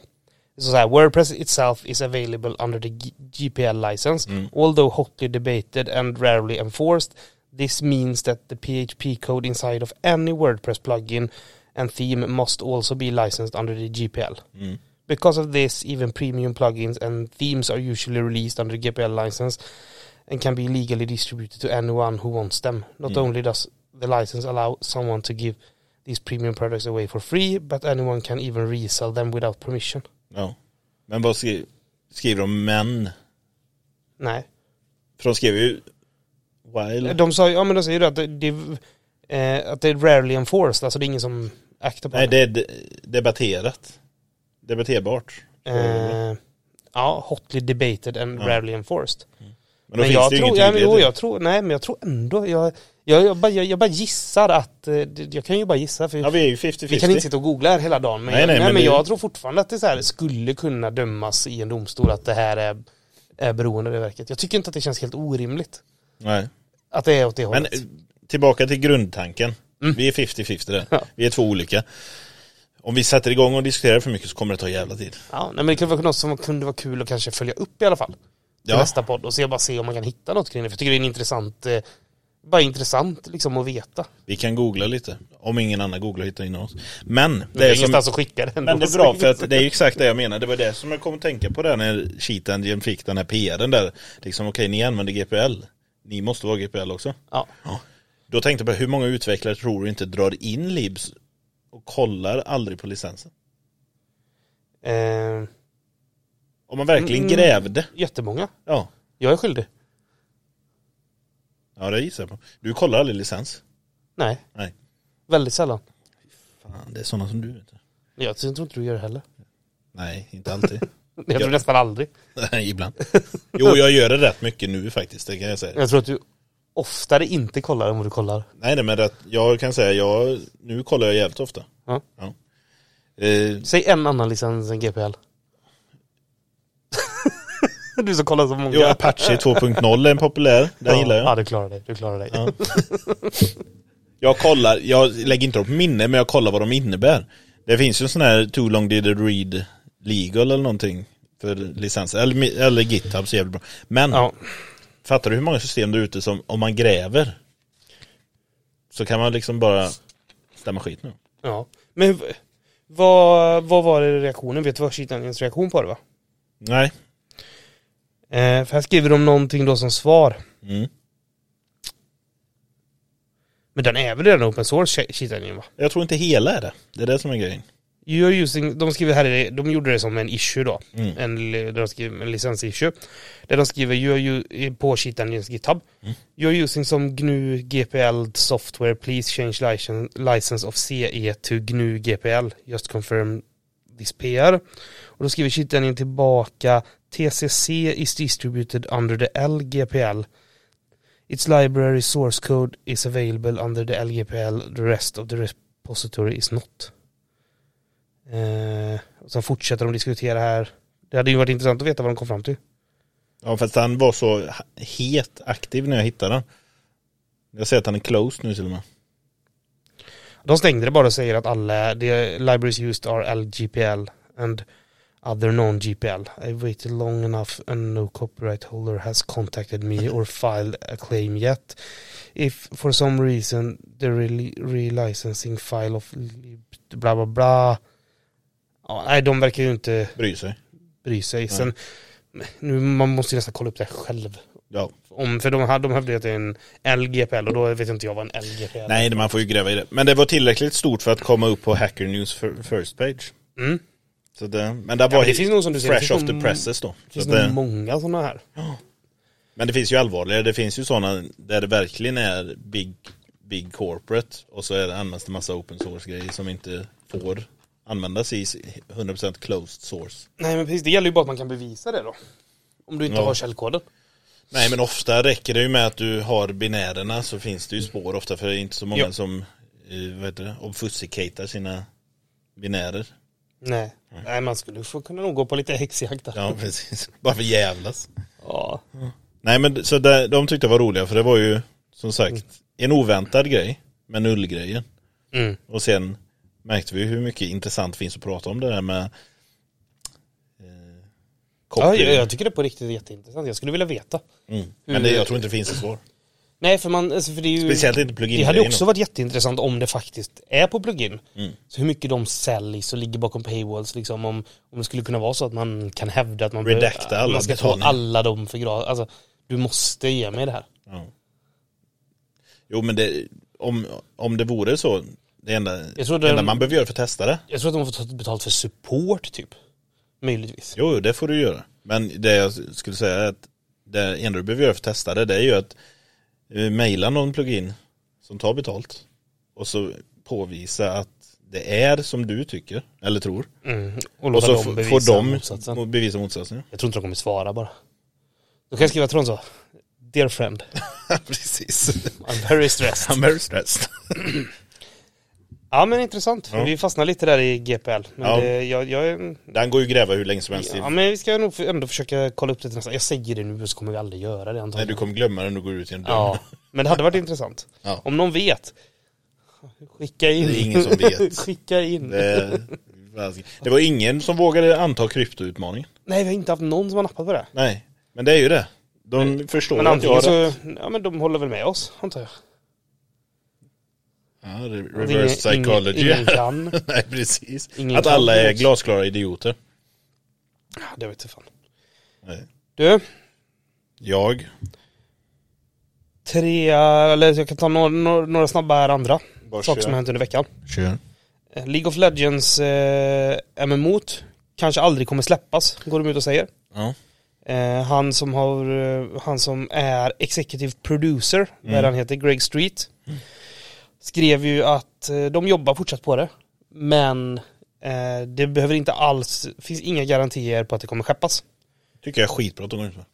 S2: Så så här, Wordpress itself is available under the G- GPL license.
S1: Mm,
S2: Although hotly debated and rarely enforced, this means that the PHP code inside of any WordPress plugin and theme must also be licensed under the GPL.
S1: mm,
S2: Because of this, even premium plugins and themes are usually released under the GPL license and can be legally distributed to anyone who wants them. Not only does the license allow someone to give these premium products away for free, but anyone can even resell them without permission.
S1: Ja. Men vad skri- skriver de men?
S2: Nej.
S1: För de skrev ju while.
S2: De sa ju, ja men de säger ju att det, det, eh, att det är rarely enforced, alltså det är ingen som aktar på
S1: Nej, det är de- debatterat. Debatterbart.
S2: Eh, ja, hotly debated and rarely enforced.
S1: Men då
S2: Men
S1: finns
S2: jag
S1: det ju
S2: tror,
S1: ingen
S2: ja, men,
S1: tydlighet.
S2: jo, jag tror, nej men jag tror ändå, jag, jag, jag, bara, jag, jag bara gissar att, eh, det- jag kan ju bara gissa för
S1: Ja, vi är ju 50-50.
S2: vi kan inte sitta och googla här hela dagen. Men,
S1: Nej,
S2: jag,
S1: nej,
S2: nej,
S1: men
S2: men,
S1: det-
S2: jag tror fortfarande att det så här, skulle kunna dömas i en domstol att det här är, är beroendeverket. Jag tycker inte att det känns helt orimligt
S1: Nej.
S2: att det är åt det hållet.
S1: Men eh, tillbaka till grundtanken. Vi är 50-50 där.
S2: Ja.
S1: Vi är två olika. Om vi sätter igång och diskuterar för mycket så kommer det ta jävla tid.
S2: Ja, nej, men det kunde vara något som kunde vara kul att kanske följa upp i alla fall. Till
S1: Ja.
S2: nästa podd och se, bara se om man kan hitta något kring det. För jag tycker det är en intressant, eh, bara intressant liksom att veta.
S1: Vi kan googla lite. Om ingen annan googlar hittar innan oss. Men
S2: Det
S1: det
S2: är
S1: är som
S2: ingenstans att skicka den.
S1: Men det är bra för att det är ju exakt det jag menar. Det var det som jag kom att tänka på där när Cheat Engine fick den här PRen där. Liksom okej, ni använder GPL. Ni måste vara GPL också.
S2: Ja,
S1: Då tänkte jag på hur många utvecklare tror du inte drar in Libs och kollar aldrig på licensen?
S2: eh,
S1: Om man verkligen
S2: Mm.
S1: grävde.
S2: jättemånga.
S1: Ja,
S2: Jag är skyldig.
S1: ja det gissar jag på. Du kollar aldrig licens.
S2: Nej,
S1: Nej.
S2: väldigt sällan.
S1: Fan, det är sådana som du. Vet. du.
S2: Jag tror inte du gör det heller.
S1: Nej, inte alltid.
S2: Jag tror
S1: Ja.
S2: nästan aldrig.
S1: Nej, ibland. Jo, jag gör det rätt mycket nu faktiskt. Det kan jag säga.
S2: Jag tror att du oftare inte kollar än vad du kollar.
S1: Nej, nej, men rätt, jag kan säga jag, nu kollar jag jävligt ofta.
S2: Ja.
S1: Ja. Eh,
S2: Säg en annan licens än GPL. du som kollar så många.
S1: Jo, Apache 2.0 är en populär. Den gillar
S2: Ja,
S1: jag.
S2: du klarar dig. Du klarar dig.
S1: Jag kollar, jag lägger inte upp minne, men jag kollar vad de innebär. Det finns ju en sån här Too long did it read legal eller någonting för licens. Eller, mi- eller GitHub så jävligt bra. Men
S2: Ja.
S1: fattar du hur många system där ute som om man gräver så kan man liksom bara stämma skit nu.
S2: ja. Men v- vad, vad var det reaktionen? Vet du vad Kitaniens reaktion på det var?
S1: Nej.
S2: Eh, för här skriver de någonting då som svar.
S1: Mm.
S2: Men den är väl redan open source, Kitanien va?
S1: Jag tror inte hela är det. Det är det som är grejen.
S2: You're using, de skriver här, i- de gjorde det som en issue då.
S1: Mm.
S2: En, li- de skriver, en licensissue. Där de skriver you're ju, på Cheat Engines GitHub. You're using some GNU GPL software. Please change licen- license of CE to GNU GPL. Just confirm this PR. Och då skriver Cheat Engine tillbaka TCC is distributed under the LGPL. Its library source code is available under the LGPL. The rest of the repository is not. Eh, och sen fortsätter de diskutera här. Det hade ju varit intressant att veta vad de kom fram till.
S1: Ja fast han var så h- het aktiv när jag hittade den. Jag ser att han är closed nu till och med.
S2: De stängde det bara och säger att alla the libraries used are LGPL and other non-GPL. I waited long enough and no copyright holder has contacted me or filed a claim yet. If for some reason the reli- relicensing file of lib- bla bla bla. Ja, nej, de verkar ju inte
S1: Bryr sig.
S2: bry sig. Sen, nu, man måste ju nästan kolla upp det här själv.
S1: Ja.
S2: Om, för de, här, de hävdade ju att det är en LGPL och då vet inte jag vad en LGPL är.
S1: Nej, man får ju gräva i det. Men det var tillräckligt stort för att komma upp på Hacker News fir- First Page.
S2: Mm.
S1: Så det, men där
S2: Ja,
S1: var
S2: men det finns nog som du säger, det
S1: fresh
S2: finns
S1: off the
S2: nog-
S1: presses då.
S2: Det
S1: Så att
S2: finns nog
S1: det,
S2: många sådana här.
S1: men det finns ju allvarligare. Det finns ju sådana där det verkligen är big, big corporate och så är det, används det massa open source-grejer som inte får användas i s- 100% closed source.
S2: Nej men precis, det gäller ju bara att man kan bevisa det då. Om du inte
S1: Ja.
S2: har källkoden.
S1: Nej, men ofta räcker det ju med att du har binärerna så finns det ju spår ofta för det är inte så många
S2: Ja.
S1: som eh, vad heter det, obfuscicatar sina binärer.
S2: Nej. Nej, man skulle få kunna nog gå på lite häxjakt där. Ja.
S1: Ja, precis. Bara för jävlas. Nej men så där, de tyckte det var roliga för det var ju som sagt en oväntad grej med nullgrejen.
S2: Mm.
S1: Och sen märkte vi hur mycket intressant finns att prata om det där med
S2: Ja,
S1: Copy.
S2: jag, jag tycker det är på riktigt jätteintressant. Jag skulle vilja veta.
S1: Mm. Men det, jag tror inte det finns så svår.
S2: Nej, för man, alltså, för det är ju...
S1: Speciellt inte plug-in.
S2: Det hade
S1: grejen
S2: också
S1: då.
S2: varit jätteintressant om det faktiskt är på plugin.
S1: Mm.
S2: Så hur mycket de säljs och ligger bakom paywalls liksom. Om, om det skulle kunna vara så att man kan hävda att man, behöver-
S1: Redacta alla
S2: man ska ta
S1: betalningar.
S2: alla dem för gratis. Alltså, du måste ge mig det här.
S1: Ja. Jo men det, om, om det vore så, det enda,
S2: Jag tror
S1: det enda
S2: den-
S1: man behöver göra för att testa det.
S2: Jag tror att de får ta betalt för support typ. Möjligtvis.
S1: Jo, det får du göra. Men det jag skulle säga är att det enda du behöver göra för att testa det, det är ju att eh, mejla någon plugin som tar betalt. Och så påvisa att det är som du tycker, eller tror.
S2: Mm. Och,
S1: Och
S2: låta
S1: så
S2: dem
S1: f-
S2: bevisa
S1: får de
S2: motsatsen.
S1: mo- bevisa motsatsen.
S2: Jag tror inte de kommer svara bara. Då kan jag skriva till dem så. Dear friend,
S1: Precis.
S2: I'm very stressed.
S1: I'm very stressed.
S2: Ja men intressant, för
S1: Ja.
S2: vi fastnar lite där i GPL. Men
S1: Ja.
S2: det, jag, jag, är-
S1: Den går ju att gräva hur länge som helst. i-
S2: ja men vi ska nog ändå försöka kolla upp det till nästa. Jag säger det nu så kommer vi aldrig göra det
S1: Nej,
S2: antagligen.
S1: du kommer glömma den och går ut i en dörr.
S2: Ja, men det hade varit intressant.
S1: Ja.
S2: Om någon vet, skicka in.
S1: Det är ingen som vet.
S2: skicka in.
S1: Det, Eh, det var ingen som vågade anta kryptoutmaningen.
S2: Nej vi har inte haft någon som har nappat på det.
S1: Nej, men det är ju det. De förstår
S2: Mm. Men
S1: att jag
S2: antingen
S1: har
S2: så,
S1: rätt.
S2: ja men de håller väl med oss antar jag.
S1: Ja, re-
S2: Att
S1: reverse
S2: Alltså, ingen- ingen-
S1: psychology.
S2: Ingen kan.
S1: Nej, precis.
S2: Ingen
S1: att
S2: kan
S1: alla är
S2: förut.
S1: glasklara idioter.
S2: Ja, Det vet jag fan.
S1: Nej.
S2: Du,
S1: Jag,
S2: tre, eller jag kan ta några, några, några snabba här andra.
S1: Bara
S2: saker
S1: kör.
S2: som har hänt under veckan.
S1: kör.
S2: Eh, League of Legends eh, MMO kanske aldrig kommer släppas, går de ut och säger.
S1: Ja.
S2: Eh, han, som har, eh, han som är executive producer, vad är
S1: Mm.
S2: det han heter, Greg Street, skrev ju att eh, de jobbar fortsatt på det, men eh, det behöver inte alls, finns inga garantier på att det kommer skeppas.
S1: Tycker jag är skitbra att de går ut med.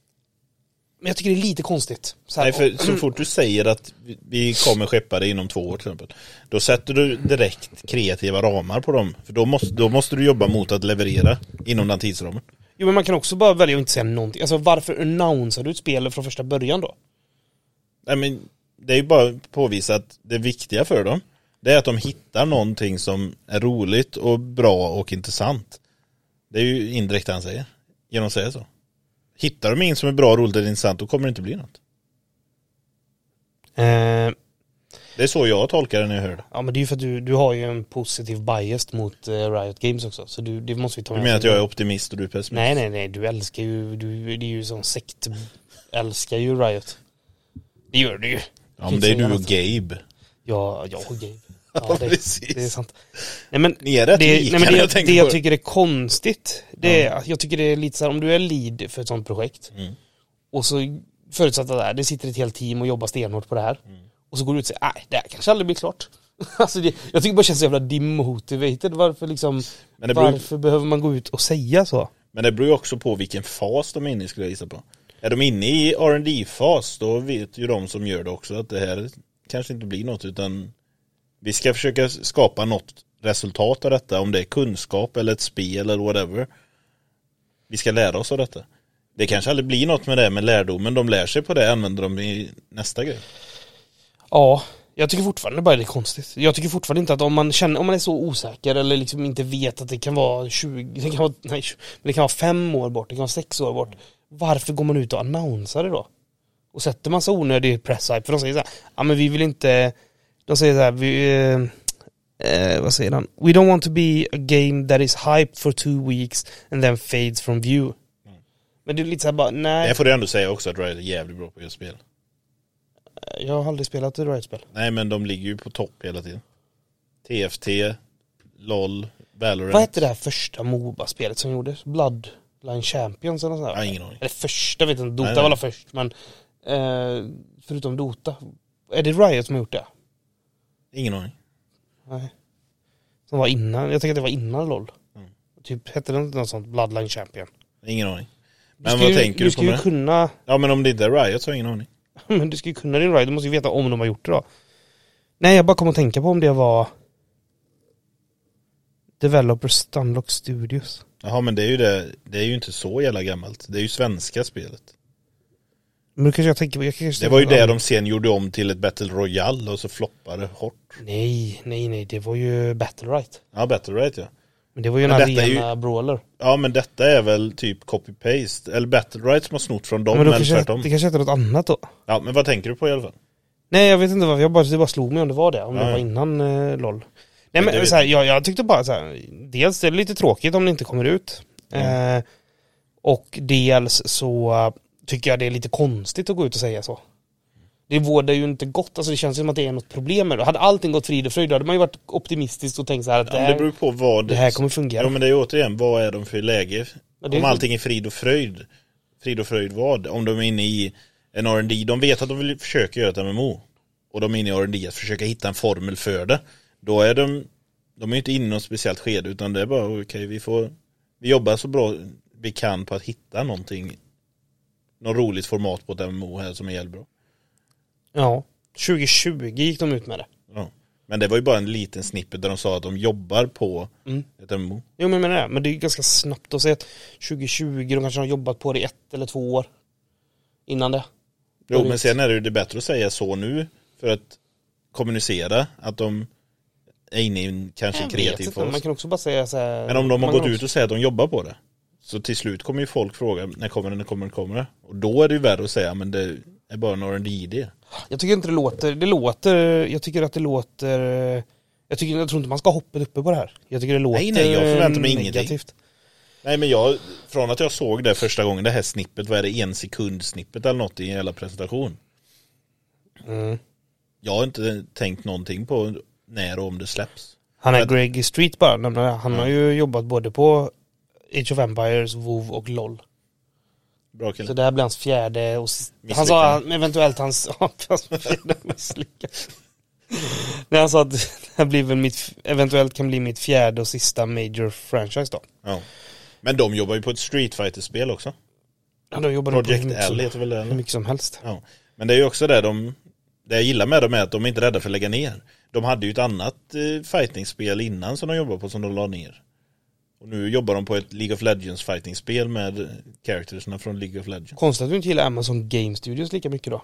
S2: Men jag tycker det är lite konstigt. Så här,
S1: Nej, för så fort du säger att vi- vi kommer skeppa det inom två år till exempel. Då sätter du direkt kreativa ramar på dem. För då måste, då måste du jobba mot att leverera inom den tidsramen.
S2: Jo men man kan också bara välja att inte säga någonting. Alltså varför annonsar du ett spel från första början då?
S1: Nej, men det är ju bara att påvisa att det viktiga för dem det är att de hittar någonting som är roligt och bra och intressant. Det är ju indirekt det han säger. Genom att säga så. Hittar de inget som är bra, roligt och intressant då kommer det inte bli något.
S2: Eh,
S1: Det är så jag tolkar det när jag hör det.
S2: Ja men det är ju för att du, du har ju en positiv bias mot eh, Riot Games också, så du, det måste vi ta
S1: Du
S2: med.
S1: menar att jag är optimist och du är pessimist?
S2: Nej nej nej, du älskar ju, du, det är ju sån sekt, älskar ju Riot. Det gör du ju.
S1: Ja men det är du och Gabe.
S2: Ja, jag och Gabe. Ja,
S1: Ja,
S2: det,
S1: precis.
S2: det är sant. Nej men,
S1: Ni är rätt
S2: det,
S1: lika
S2: nej, men det,
S1: när
S2: jag,
S1: jag tänker
S2: det
S1: på
S2: jag
S1: det.
S2: tycker är konstigt, det är, jag tycker det är lite så här, om du är lead för ett sånt projekt
S1: Mm.
S2: och så förutsatt att det, här, det sitter ett helt team och jobbar stenhårt på det här
S1: Mm.
S2: och så går du ut och säger nej det här kanske aldrig blir klart. alltså det, jag tycker det bara känns så jävla demotivated, varför liksom,
S1: Men det beror-
S2: varför behöver man gå ut och säga så?
S1: Men det beror ju också på vilken fas de är inne i skulle jag gissa på. Är de inne i rd fas då vet ju de som gör det också att det här kanske inte blir något utan vi ska försöka skapa något resultat av detta om det är kunskap eller ett spel eller whatever. Vi ska lära oss av detta. Det kanske aldrig blir något med det men lärdomen de lär sig på det använder de i nästa grej.
S2: Ja, jag tycker fortfarande bara det är konstigt. Jag tycker fortfarande inte att om man känner, om man är så osäker eller liksom inte vet att det kan vara 20, det kan vara, nej, 20, men det kan vara fem år bort, det kan vara sex år bort. Varför går man ut och annonsar det då? Och sätter massa onödig press-hype, för de säger så här, ja men vi vill inte, de säger så här, vi, eh, eh, vad säger han? We don't want to be a game that is hyped for two weeks and then fades from view. Men det är lite såhär bara, nej,
S1: Det får du ändå säga också att Riot är jävligt bra på att göra spel.
S2: jag har aldrig spelat ett Riot-spel.
S1: Nej men de ligger ju på topp hela tiden. TFT, LOL, Valorant.
S2: Vad hette det här första Moba-spelet som gjordes? Bloodline Champions eller nåt sånt
S1: Jag har
S2: där?
S1: ingen aning.
S2: Eller första vet jag inte,
S1: Nej,
S2: Dota
S1: nej.
S2: var alla först men eh, förutom Dota. Är det Riot som har gjort det?
S1: Ingen aning.
S2: Nej. Som var innan, jag tänker att det var innan LOL.
S1: Mm.
S2: Typ hette det inte något sånt, Bloodline Champion?
S1: Ingen aning.
S2: Du
S1: Men
S2: ska
S1: vad
S2: ju,
S1: tänker
S2: du
S1: du
S2: ska
S1: på
S2: ju
S1: med det?
S2: kunna,
S1: Ja men om det inte är Riot så har jag ingen aning.
S2: men du ska ju kunna din Riot, du måste ju veta om de har gjort det då. Nej jag bara kom att tänka på om det var Developers Stunlock Studios.
S1: Jaha men det är ju det, det är ju inte så jävla gammalt. Det är ju svenska spelet.
S2: Men då kanske jag tänker på, jag kanske
S1: Det var ju
S2: tänker på-
S1: det de sen gjorde om till ett Battle Royale och så floppade hårt.
S2: Nej, nej, nej, det var ju Battle Right.
S1: Ja Battle Royale ja.
S2: Men det var ju en
S1: Men detta är ju-
S2: arena brawler.
S1: Ja men detta är väl typ copy-paste, eller battle rights som har snott från dem
S2: men då
S1: eller
S2: kanske,
S1: tvärtom.
S2: det kanske hette något annat då.
S1: Ja men vad tänker du på i alla fall?
S2: Nej jag vet inte varför, jag bara, det bara slog mig om det var det, om
S1: Ja,
S2: det
S1: ja.
S2: var innan eh, LOL. Nej
S1: Men
S2: men
S1: det-
S2: så här, jag, jag tyckte bara så här, dels det är lite tråkigt om det inte kommer ut.
S1: Mm.
S2: Eh, och dels så eh, tycker jag det är lite konstigt att gå ut och säga så. Det vårdar ju inte gott, alltså det känns som att det är något problem med det. Hade allting gått frid och fröjd då hade man ju varit optimistisk och tänkt så här att det
S1: Ja, men det beror ju
S2: här,
S1: på vad...
S2: det här kommer fungera.
S1: Ja men det är ju återigen, vad är de för läge?
S2: Ja, det är
S1: Om
S2: ju-
S1: allting är frid och fröjd, frid och fröjd vad? Om de är inne i en R&D, de vet att de vill försöka göra ett MMO och de är inne i R&D att försöka hitta en formel för det. Då är de, de är ju inte inne i något speciellt skede utan det är bara okej vi får, vi jobbar så bra vi kan på att hitta någonting, något roligt format på ett MMO här som är jävligt bra.
S2: Ja, 2020 gick de ut med det.
S1: Ja. Men det var ju bara en liten snippet där de sa att de jobbar på
S2: Mm.
S1: ett MMO.
S2: Jo men jag menar det, men det är ju ganska snabbt att säga att 2020, de kanske har jobbat på det i ett eller två år innan det.
S1: Jo,
S2: Precis.
S1: men sen är det ju det bättre att säga så nu för att kommunicera att de är inne i en kanske
S2: Jag vet
S1: kreativ
S2: inte,
S1: fas.
S2: Man kan också bara säga så här,
S1: Men om de har
S2: man
S1: gått
S2: kan
S1: ut och säger att de jobbar på det så till slut kommer ju folk fråga när kommer det, när kommer det, kommer det? Och då är det ju värre att säga men det är bara några idé.
S2: också- Jag tycker inte det låter, det låter, jag tycker att det låter, jag, tycker, jag tror inte man ska ha hoppet uppe på det här. Jag tycker det låter
S1: Nej, nej, jag förväntar mig
S2: eh,
S1: ingenting.
S2: negativt.
S1: Nej men jag, från att jag såg det första gången, det här snippet, vad är det, en sekund snippet eller något i en jävla presentation.
S2: Mm.
S1: Jag har inte tänkt någonting på när och om det släpps.
S2: Han är
S1: Men-
S2: Greg Street bara, nämner jag. han har ju jobbat både på Age of Empires, WoW och LOL.
S1: Bra
S2: Så
S1: kille.
S2: det här blir hans fjärde och s- Han
S1: Misslyckande.
S2: sa han- eventuellt hans, ja, hans fjärde misslyckande. Nej han sa att det här blir väl mitt, eventuellt kan bli mitt fjärde och sista major franchise då.
S1: Ja. Men de jobbar ju på ett Street fighter spel också.
S2: Ja, då jobbar de på hur
S1: Project
S2: mycket som-
S1: L heter väl det?
S2: Hur
S1: eller?
S2: mycket som helst.
S1: Ja. Men det är ju också det de Det jag gillar med dem är att de är inte rädda för att lägga ner. De hade ju ett annat eh, fightingspel innan som de jobbade på som de la ner. Och nu jobbar de på ett League of Legends fightingspel med eh, charactersna från League of Legends.
S2: Konstigt att du inte gillar Amazon Game Studios lika mycket då.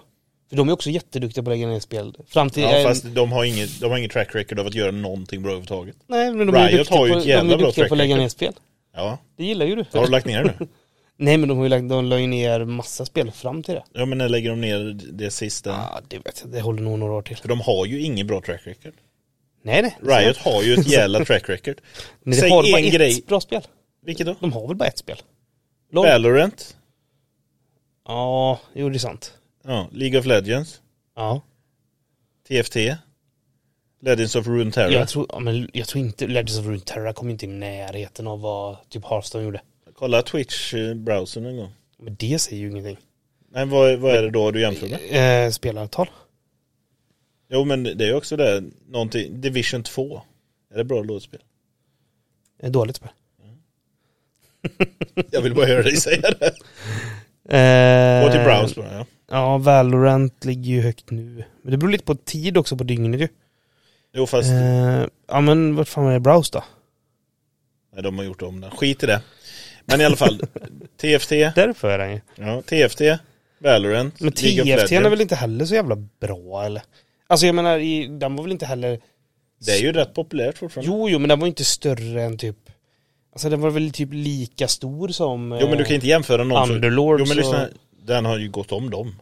S2: För de är också jätteduktiga på att lägga ner spel. Fram till...
S1: Ja,
S2: eh,
S1: fast de har inget, de har inget track record av att göra någonting bra överhuvudtaget.
S2: nej, men de
S1: Riot
S2: är ju duktiga,
S1: har ju
S2: på,
S1: ett
S2: de
S1: jävla
S2: är
S1: bra
S2: duktiga
S1: track
S2: på att lägga
S1: record.
S2: ner spel.
S1: Ja.
S2: Det gillar ju du.
S1: Har de lagt ner nu?
S2: Nej, men de har ju lagt, de la ju ner massa spel fram till det.
S1: Ja men när lägger de ner det sista?
S2: Ja, det vet jag. Det håller nog några år till.
S1: För de har ju ingen bra track record.
S2: Nej, nej.
S1: Riot har ju ett jävla track record.
S2: Men det
S1: Säg
S2: har väl bara
S1: en
S2: ett
S1: grej.
S2: bra spel?
S1: Vilket då?
S2: De har väl bara ett spel? LOL?
S1: Valorant.
S2: Ja, jo det är sant.
S1: Ja, League of Legends.
S2: Ja.
S1: TFT. Legends of Runeterra.
S2: Jag tror, ja, men jag tror inte Legends of Runeterra kom inte i närheten av vad typ Hearthstone gjorde.
S1: Kolla Twitch-browsern en gång.
S2: Men det säger ju ingenting.
S1: Nej, vad, vad är det då du jämför med?
S2: Eh, spelaravtal?
S1: Jo, men det är ju också det. Någonting, Division 2. Är det bra låtspel?
S2: Eh, dåligt spel.
S1: Jag vill bara höra dig säga det.
S2: Eh,
S1: Gå till browse bara, ja.
S2: Ja, Valorant ligger ju högt nu. Men det beror lite på tid också på dygnet ju.
S1: Jo, fast
S2: Eh, ja men vart fan är Browse då?
S1: nej, de har gjort om det. Skit i det. Men i alla fall, TFT.
S2: Därför är den ju.
S1: Ja, TFT. Valorant.
S2: Men
S1: League of
S2: TFT är
S1: Legends.
S2: väl inte heller så jävla bra eller? Alltså jag menar, i, den var väl inte heller...
S1: Det är ju rätt populärt fortfarande.
S2: Jo, jo, men den var ju inte större än typ... Alltså den var väl typ lika stor som... eh,
S1: Jo, men du kan inte jämföra någon som...
S2: Underlords
S1: Jo, men lyssna.
S2: och-
S1: Den har ju gått om dem.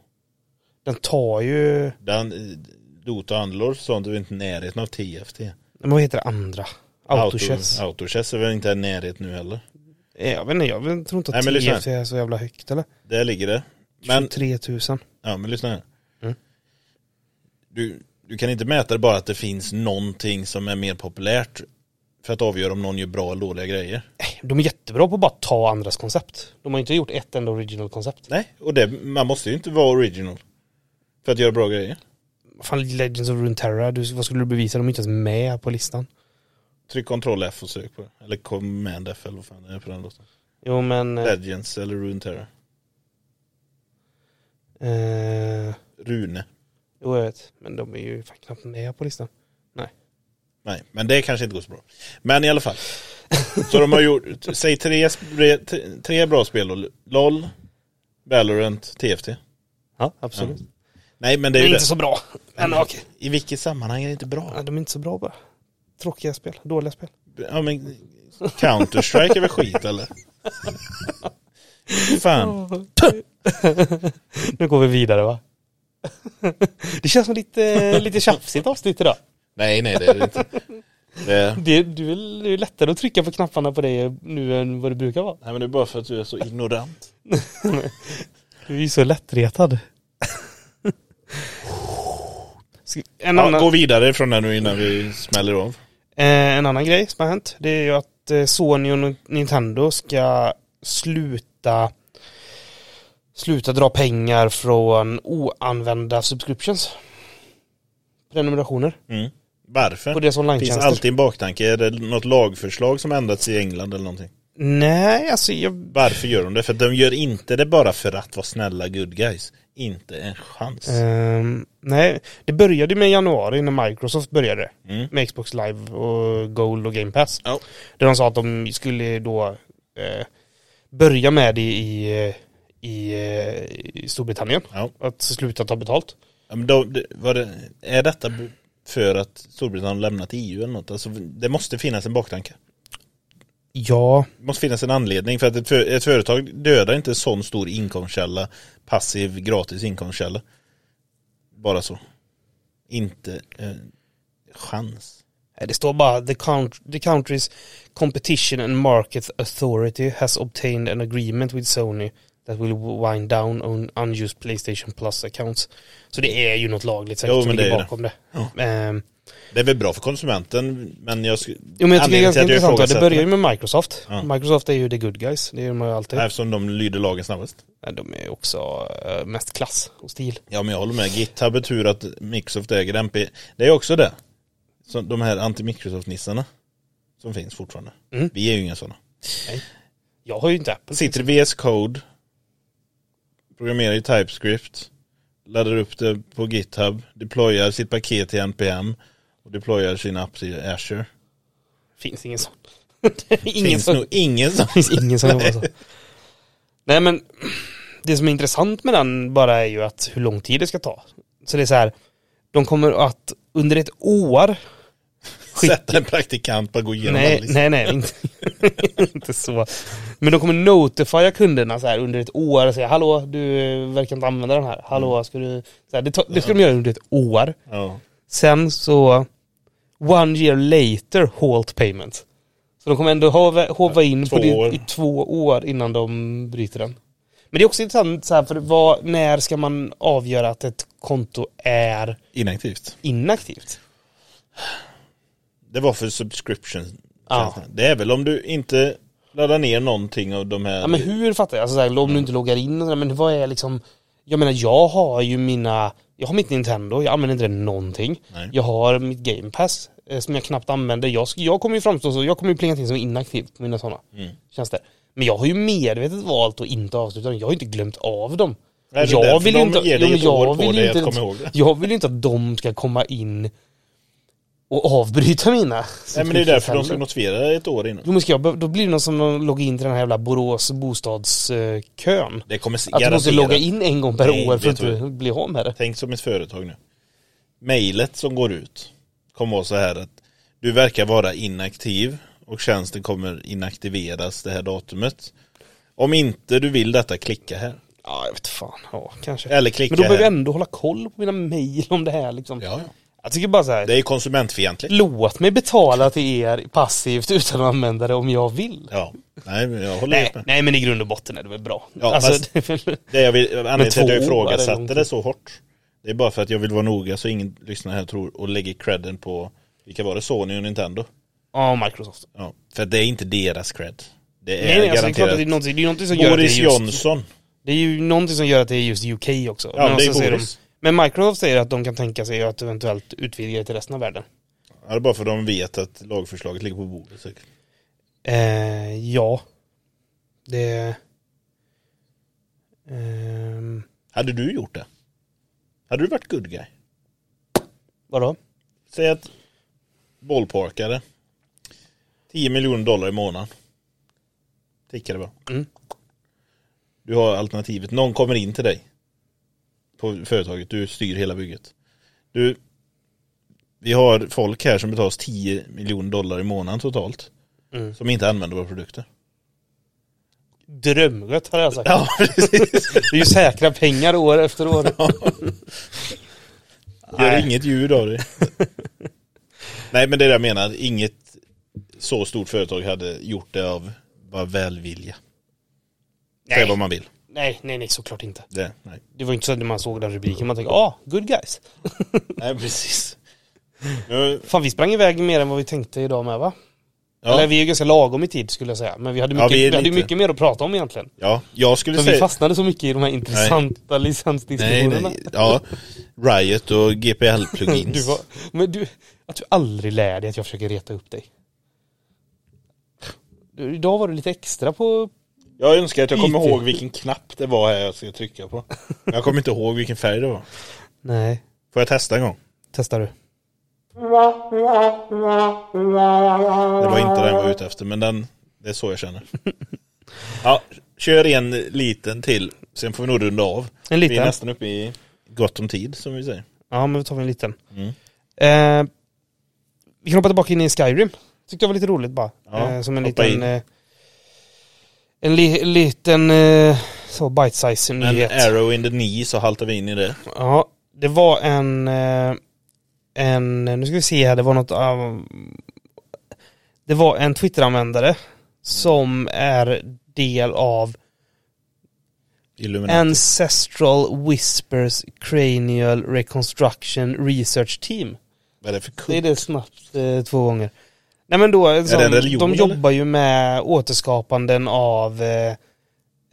S2: Den tar ju...
S1: Den, eh, Dota och Underlords och sånt är ju inte i närheten av TFT.
S2: Men vad heter det andra? Autochess?
S1: Auto- Autochess är väl inte i närheten nu heller.
S2: Eh, Jag vet inte, jag vet- tror inte
S1: Nej,
S2: att
S1: men lyssna.
S2: TFT är så jävla högt eller?
S1: Där ligger det. Men,
S2: Men... 23 000.
S1: ja, men lyssna här.
S2: Mm.
S1: Du, du kan inte mäta det bara att det finns någonting som är mer populärt för att avgöra om någon gör bra eller dåliga grejer.
S2: Nej, De är jättebra på att bara ta andras koncept. De har inte gjort ett enda original koncept.
S1: Nej, och det, man måste ju inte vara original för att göra bra grejer.
S2: Fan, Legends of Runeterra, du, vad skulle du bevisa? De är inte ens med på listan.
S1: Tryck Ctrl F och sök på det. Eller Command F eller vad fan det är på den låten.
S2: Jo men... Eh,
S1: Legends eller Runeterra.
S2: eh,
S1: Rune.
S2: jo jag vet, men de är ju fan knappt med på listan.
S1: Nej, men det kanske inte går så bra. Men i alla fall. Så de har gjort, säg tre, sp- tre, tre bra spel då. LOL, Valorant, TFT.
S2: Ja, absolut.
S1: Nej men det
S2: Det
S1: är
S2: är
S1: ju det.
S2: inte så bra. Men okej.
S1: I vilket sammanhang är det inte bra?
S2: Ja, de är inte så bra bara. Tråkiga spel, dåliga spel.
S1: Ja men Counter-Strike är väl skit eller? Fan.
S2: Nu går vi vidare va? Det känns som lite, lite tjafsigt avsnitt idag.
S1: Nej nej det är det inte. Det,
S2: Det, du är, det är lättare att trycka på knapparna på dig nu än vad det brukar vara.
S1: nej men det är bara för att du är så ignorant.
S2: Du är ju så lättretad. Ska- En
S1: Ja,
S2: annan,
S1: gå vidare från den nu innan vi smäller av.
S2: eh, en annan grej som har hänt det är ju att eh, Sony och Ni- Nintendo ska sluta sluta dra pengar från oanvända subscriptions. Prenumerationer
S1: Mm.
S2: på
S1: Varför?
S2: deras
S1: Finns
S2: online-tjänster.
S1: alltid en baktanke? Är det något lagförslag som ändrats i England eller någonting?
S2: Nej, alltså jag...
S1: Varför gör de det? För de gör inte det bara för att vara snälla good guys. Inte en chans.
S2: ehm, nej, det började ju med januari när Microsoft började.
S1: Mm.
S2: med Xbox Live och Gold och Game Pass.
S1: Ja.
S2: Där de sa att de skulle då eh, börja med det i, eh, i, eh, i Storbritannien.
S1: Ja.
S2: Att sluta ta betalt.
S1: Ja, men då, det, var det, är detta b- för att Storbritannien lämnat EU eller något? Alltså, det måste finnas en baktanke.
S2: Ja.
S1: Det måste finnas en anledning för att ett, för, ett företag dödar inte en sån stor inkomstkälla, passiv, gratis inkomstkälla. Bara så. Inte eh, chans.
S2: Eh, Det står bara the, count- the country's competition and market authority has obtained an agreement with Sony that will wind down on unused Playstation Plus accounts. Så det är ju något lagligt säkert
S1: Jo,
S2: som
S1: men
S2: ligger
S1: det är det.
S2: bakom det. Ehm,
S1: Det är väl bra för konsumenten, men jag skulle...
S2: Jo men jag tycker det är
S1: anledningen till
S2: ganska
S1: att jag
S2: intressant. va? Det
S1: ifrågasätter-
S2: börjar ju med Microsoft.
S1: Ja.
S2: Microsoft är ju the good guys. Det är de ju alltid.
S1: Eftersom de lyder lagen snabbast.
S2: Nej, De är ju också eh, mest klass och stil.
S1: Ja men jag håller med, GitHub är tur att Microsoft äger MP. Det är också det. Så de här anti-Microsoft-nissarna som finns fortfarande.
S2: Mm.
S1: Vi är ju inga sådana.
S2: Jag har ju inte Apple.
S1: Sitter i VS Code, programmerar i TypeScript, laddar upp det på GitHub, deployar sitt paket till NPM och deployar sin app till Azure.
S2: Finns ingen sån. Det är ingen
S1: finns
S2: som,
S1: nog ingen som...
S2: finns ingen som jobbar så. Nej men det som är intressant med den bara är ju att hur lång tid det ska ta. Så det är så här. De kommer att under ett år. Skit-
S1: Sätta en praktikant på att gå igenom all
S2: Nej,
S1: listan.
S2: nej, nej. Inte, inte så. Men de kommer notifiera kunderna så här under ett år och säga hallå du eh, verkar inte använda den här.
S1: Mm.
S2: Hallå ska du... Så här, det, tar- det ska de göra under ett år.
S1: Ja.
S2: Sen så, one year later, halt payment. Så de kommer ändå hova, hova in
S1: två
S2: på det
S1: år.
S2: i två år innan de bryter den. Men det är också intressant så här, för vad, när ska man avgöra att ett konto är
S1: Inaktivt.
S2: inaktivt?
S1: Det var för subscription.
S2: Ja.
S1: Det är väl om du inte laddar ner någonting av de här...
S2: Ja men hur fattar jag? Alltså, så här,
S1: Mm.
S2: om du inte loggar in och sådär, men vad är liksom Jag menar jag har ju mina Jag har mitt Nintendo, jag använder inte det någonting
S1: Nej.
S2: Jag har mitt Game Pass eh, som jag knappt använder Jag, sk- jag kommer ju framstå så, jag kommer ju plinga till som inaktiv på mina sådana
S1: Mm.
S2: tjänster Men jag har ju medvetet valt att inte avsluta dem, jag har ju inte glömt av dem
S1: Nej, det är
S2: jag
S1: därför
S2: vill ju
S1: de
S2: inte,
S1: ger
S2: jo,
S1: dig
S2: men
S1: ett år
S2: jag
S1: på
S2: vill ju
S1: dig att
S2: inte,
S1: komma ihåg det.
S2: jag vill ju inte att de ska komma in och avbryta mina
S1: Nej men det är därför de ska
S2: subscriptions.
S1: notifiera ett år innan.
S2: Jo men ska jag, be- då blir det någon som loggar in till den här jävla Borås bostadskön.
S1: Det kommer
S2: Att du måste
S1: garanterat-
S2: logga in en gång per
S1: Nej,
S2: år för
S1: vet
S2: att
S1: du
S2: inte bli av med det.
S1: Tänk som ett företag nu. Mejlet som går ut kommer vara så här att du verkar vara inaktiv och tjänsten kommer inaktiveras det här datumet. Om inte du vill detta, klicka här.
S2: Ja, jag vet fan. Ja, kanske.
S1: Eller klicka
S2: men då behöver
S1: här.
S2: jag ändå hålla koll på mina mejl om det här liksom.
S1: Ja, ja.
S2: Jag tycker bara så här.
S1: Det är ju konsumentfientligt.
S2: Låt mig betala till er passivt utan att använda det om jag vill.
S1: Ja, nej men jag håller
S2: Nej,
S1: helt med.
S2: nej men i grund och botten är det väl bra.
S1: Ja,
S2: alltså,
S1: fast- Det jag vill, anledningen till att jag
S2: två år är
S1: ifrågasatte
S2: långt.
S1: det så hårt. Det är bara för att jag vill vara noga så ingen lyssnare här tror och lägger credden på, vilka var det, Sony och Nintendo?
S2: ja, Microsoft.
S1: Ja, för det är inte deras cred. Det är
S2: Nej, nej, alltså, det är klart
S1: garanterat
S2: att det är någonting, det är någonting som gör att det är
S1: Boris
S2: just...
S1: Johnson.
S2: Det är ju någonting som gör att det är just UK också.
S1: Ja, det är
S2: så säger de,
S1: Boris.
S2: men Microsoft säger att de kan tänka sig att eventuellt utvidga det till resten av världen.
S1: Ja, det är bara för att de vet att lagförslaget ligger på bordet. säkert.
S2: Eh, ja. Det... Ehm,
S1: Hade du gjort det? Hade du varit good guy?
S2: vadå?
S1: Säg att bollparkare 10 miljoner dollar i månaden. Tickar det bara.
S2: Mm.
S1: Du har alternativet. Någon kommer in till dig på företaget. Du styr hela bygget. Du, vi har folk här som betalas 10 miljoner dollar i månaden totalt.
S2: Mm.
S1: Som inte använder våra produkter.
S2: Drömgött hade jag sagt.
S1: Ja, precis.
S2: Det är ju säkra pengar år efter år.
S1: Gör
S2: Nej.
S1: inget ljud av det. Nej men det är det jag menar. Inget så stort företag hade gjort det av bara välvilja. Säg vad
S2: Nej.
S1: man vill.
S2: nej, nej, nej, såklart inte.
S1: Det, nej.
S2: Det var inte så att man såg den rubriken,
S1: Mm.
S2: man tänkte ah, good guys.
S1: nej precis. Nu,
S2: Fan vi sprang iväg mer än vad vi tänkte idag med va? Eller
S1: ja,
S2: vi är ju ganska lagom i tid skulle jag säga. Men vi hade
S1: Ja,
S2: mycket,
S1: vi är
S2: vi hade ju
S1: lite-
S2: mycket mer att prata om egentligen.
S1: ja, jag skulle
S2: För vi
S1: säga...
S2: fastnade så mycket i de här intressanta
S1: Nej,
S2: licensdiskussionerna.
S1: nej, ja. Riot och GPL-plugins.
S2: Du var, men du, att du aldrig lär dig att jag försöker reta upp dig. Du, idag var du lite extra på...
S1: Jag önskar att jag kommer
S2: IT.
S1: ihåg vilken knapp det var här jag skulle trycka på. Men Jag kommer inte ihåg vilken färg det var.
S2: Nej,
S1: Får jag testa en gång?
S2: testar du.
S1: Det var inte den jag var ute efter, men den, det är så jag känner. Ja, kör en liten till, sen får vi nog runda av.
S2: En
S1: Vi är
S2: liten.
S1: nästan uppe i gott om tid, som vi säger.
S2: Ja, men vi tar en liten.
S1: Mm.
S2: Eh, vi kan hoppa tillbaka in i Skyrim. Tyckte jag var lite roligt bara.
S1: Ja,
S2: eh, som en
S1: hoppa
S2: liten...
S1: in.
S2: Eh, en li, liten eh, så bite-size
S1: En
S2: nyhet.
S1: arrow in the knee så haltar vi in i det.
S2: Ja, det var en... eh, En... Nu ska vi se här, det var något av... Det var en Twitter-användare som är del av
S1: Illuminati.
S2: Ancestral Whispers Cranial Reconstruction Research Team.
S1: Vad är det för
S2: Det är
S1: kul?
S2: det snabbt eh, två gånger. Nej men då, en sån,
S1: det en religion,
S2: de
S1: eller?
S2: jobbar ju med återskapanden av eh,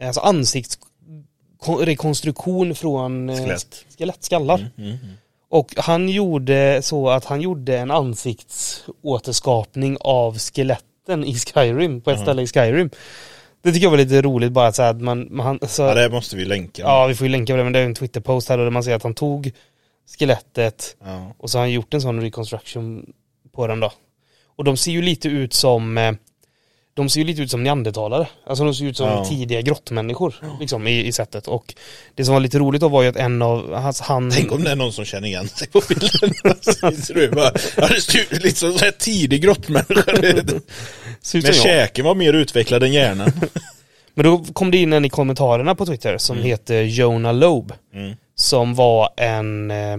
S2: alltså ansiktsrekonstruktion från eh,
S1: Skelett.
S2: skelettskallar.
S1: Mm, mm, mm.
S2: Och han gjorde så att han gjorde en ansiktsåterskapning av skeletten i Skyrim, på ett
S1: Ja.
S2: ställe i Skyrim. Det tycker jag var lite roligt bara att så här att man, man så,
S1: Ja,
S2: ja,
S1: det här måste vi länka.
S2: vi får ju länka på det, men det är en Twitter-post här då, där man ser att han tog skelettet
S1: Ja.
S2: och så har han gjort en sån reconstruction på den då. Och de ser ju lite ut som eh, de ser ju lite ut som neandertalare. Alltså de ser ut som
S1: Ja.
S2: tidiga grottmänniskor liksom, i, i sättet. Och det som var lite roligt då var ju att en av hans... Han,
S1: Tänk om det är någon som känner igen sig på bilden. Alltså, Ser du bara, ja, det ser ut lite som en sån här tidig grottmänniska.
S2: ser ut
S1: Men
S2: som jag.
S1: käken var mer utvecklad än hjärnan.
S2: Men då kom det in en i kommentarerna på Twitter som heter Jonah Loeb.
S1: Mm.
S2: Som var en... Eh,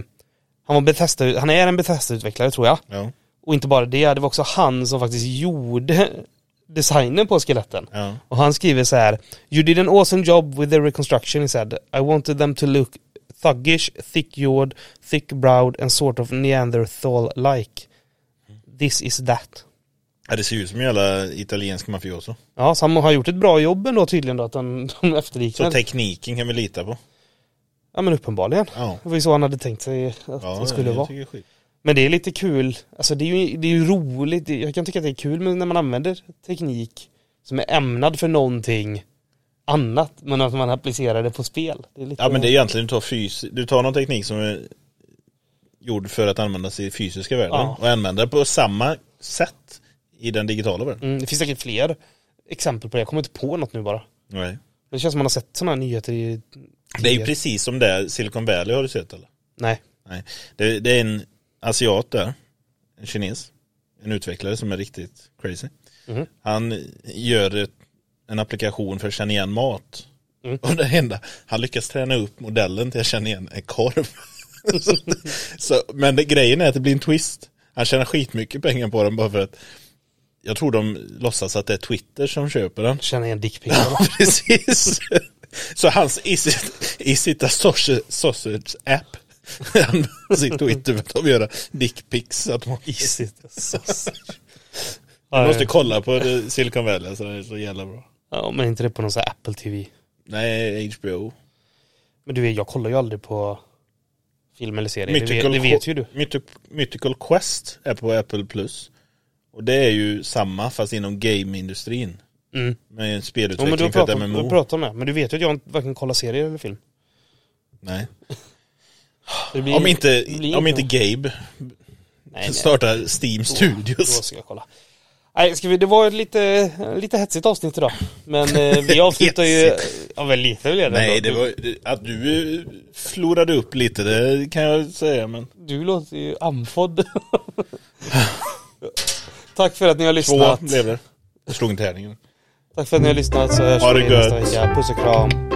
S2: han, var Bethesda, han är en Bethesda-utvecklare tror jag.
S1: Ja,
S2: Och inte bara det, det var också han som faktiskt gjorde designen på skeletten.
S1: ja.
S2: Och han skriver så här. You did an awesome job with the reconstruction, he said. I wanted them to look thuggish, thick-jawed, thick-browed and sort of Neanderthal-like. This is that.
S1: ja, det ser ut som en jävla italiensk mafioso.
S2: Ja, så han har gjort ett bra jobb ändå tydligen då, att de, de
S1: Så
S2: efterliknar.
S1: tekniken kan vi lita på.
S2: Ja men uppenbarligen.
S1: Ja.
S2: Det var ju så han hade tänkt sig att
S1: Ja,
S2: det skulle
S1: jag
S2: vara.
S1: tycker det är skit.
S2: Men det är lite kul, alltså det är ju, det är ju roligt, Det- jag kan tycka att det är kul men när man använder teknik som är ämnad för någonting annat, men att man applicerar det på spel. Det är lite,
S1: Ja men det är egentligen, du tar, fys- du tar någon teknik som är gjord för att användas i fysiska världen
S2: Ja.
S1: och använder det på samma sätt i den digitala världen.
S2: mm, det finns säkert fler exempel på det, jag kommer inte på något nu bara.
S1: Nej.
S2: Det känns som man har sett sådana här nyheter i...
S1: Det är ju precis som det Silicon Valley har du sett eller?
S2: Nej.
S1: Nej. Det, det är en asiat där, en kines, en utvecklare som är riktigt crazy.
S2: Mhm.
S1: Han gör ett, en applikation för att känna igen mat.
S2: Mm.
S1: Och det enda, han lyckas träna upp modellen till att känna igen en korv. så, så, men det, grejen är att det blir en twist. Han tjänar skitmycket pengar på den bara för att jag tror de låtsas att det är Twitter som köper den.
S2: Känner igen dickpic.
S1: Precis. Så hans Isit- Isita sausage, sausage app, han sitt Twitter för att de gör dickpics. Att man
S2: ja,
S1: Man måste
S2: måste...
S1: kolla på det, Silicon Valley, så det är så jävla bra.
S2: ja, men inte det på någon sån här Apple TV.
S1: Nej, HBO.
S2: Men du, jag kollar ju aldrig på film eller serie. Det, vet-
S1: Mythical,
S2: det vet ju du.
S1: Mythi- Mythical Quest är på Apple Plus. Och det är ju samma fast inom game-industrin.
S2: Mm.
S1: Med en
S2: Ja,
S1: spelutveckling
S2: men du har
S1: för ett
S2: pratat,
S1: MMO.
S2: du pratar med. Men du vet ju att jag inte- varken kollar serier eller film.
S1: Nej.
S2: Så det blir-
S1: Om inte,
S2: det blir
S1: om inte Gabe
S2: Nej, nej.
S1: startar Steam Studios.
S2: Då ska jag kolla. Nej, ska vi, det var ett lite, lite hetsigt avsnitt idag. Men eh, vi avslutar ju... Ja, väl lite vill jag det
S1: Nej,
S2: ändå.
S1: det var, att du eh, florade upp lite, det kan jag säga. Men
S2: Du, du låter ju andfådd. Tack för att ni har
S1: två
S2: lyssnat.
S1: blev det. Jag slog inte tärningen.
S2: Tack för att ni har lyssnat så hörs
S1: Ha det
S2: vi nästa
S1: gött.
S2: vecka. Puss och kram.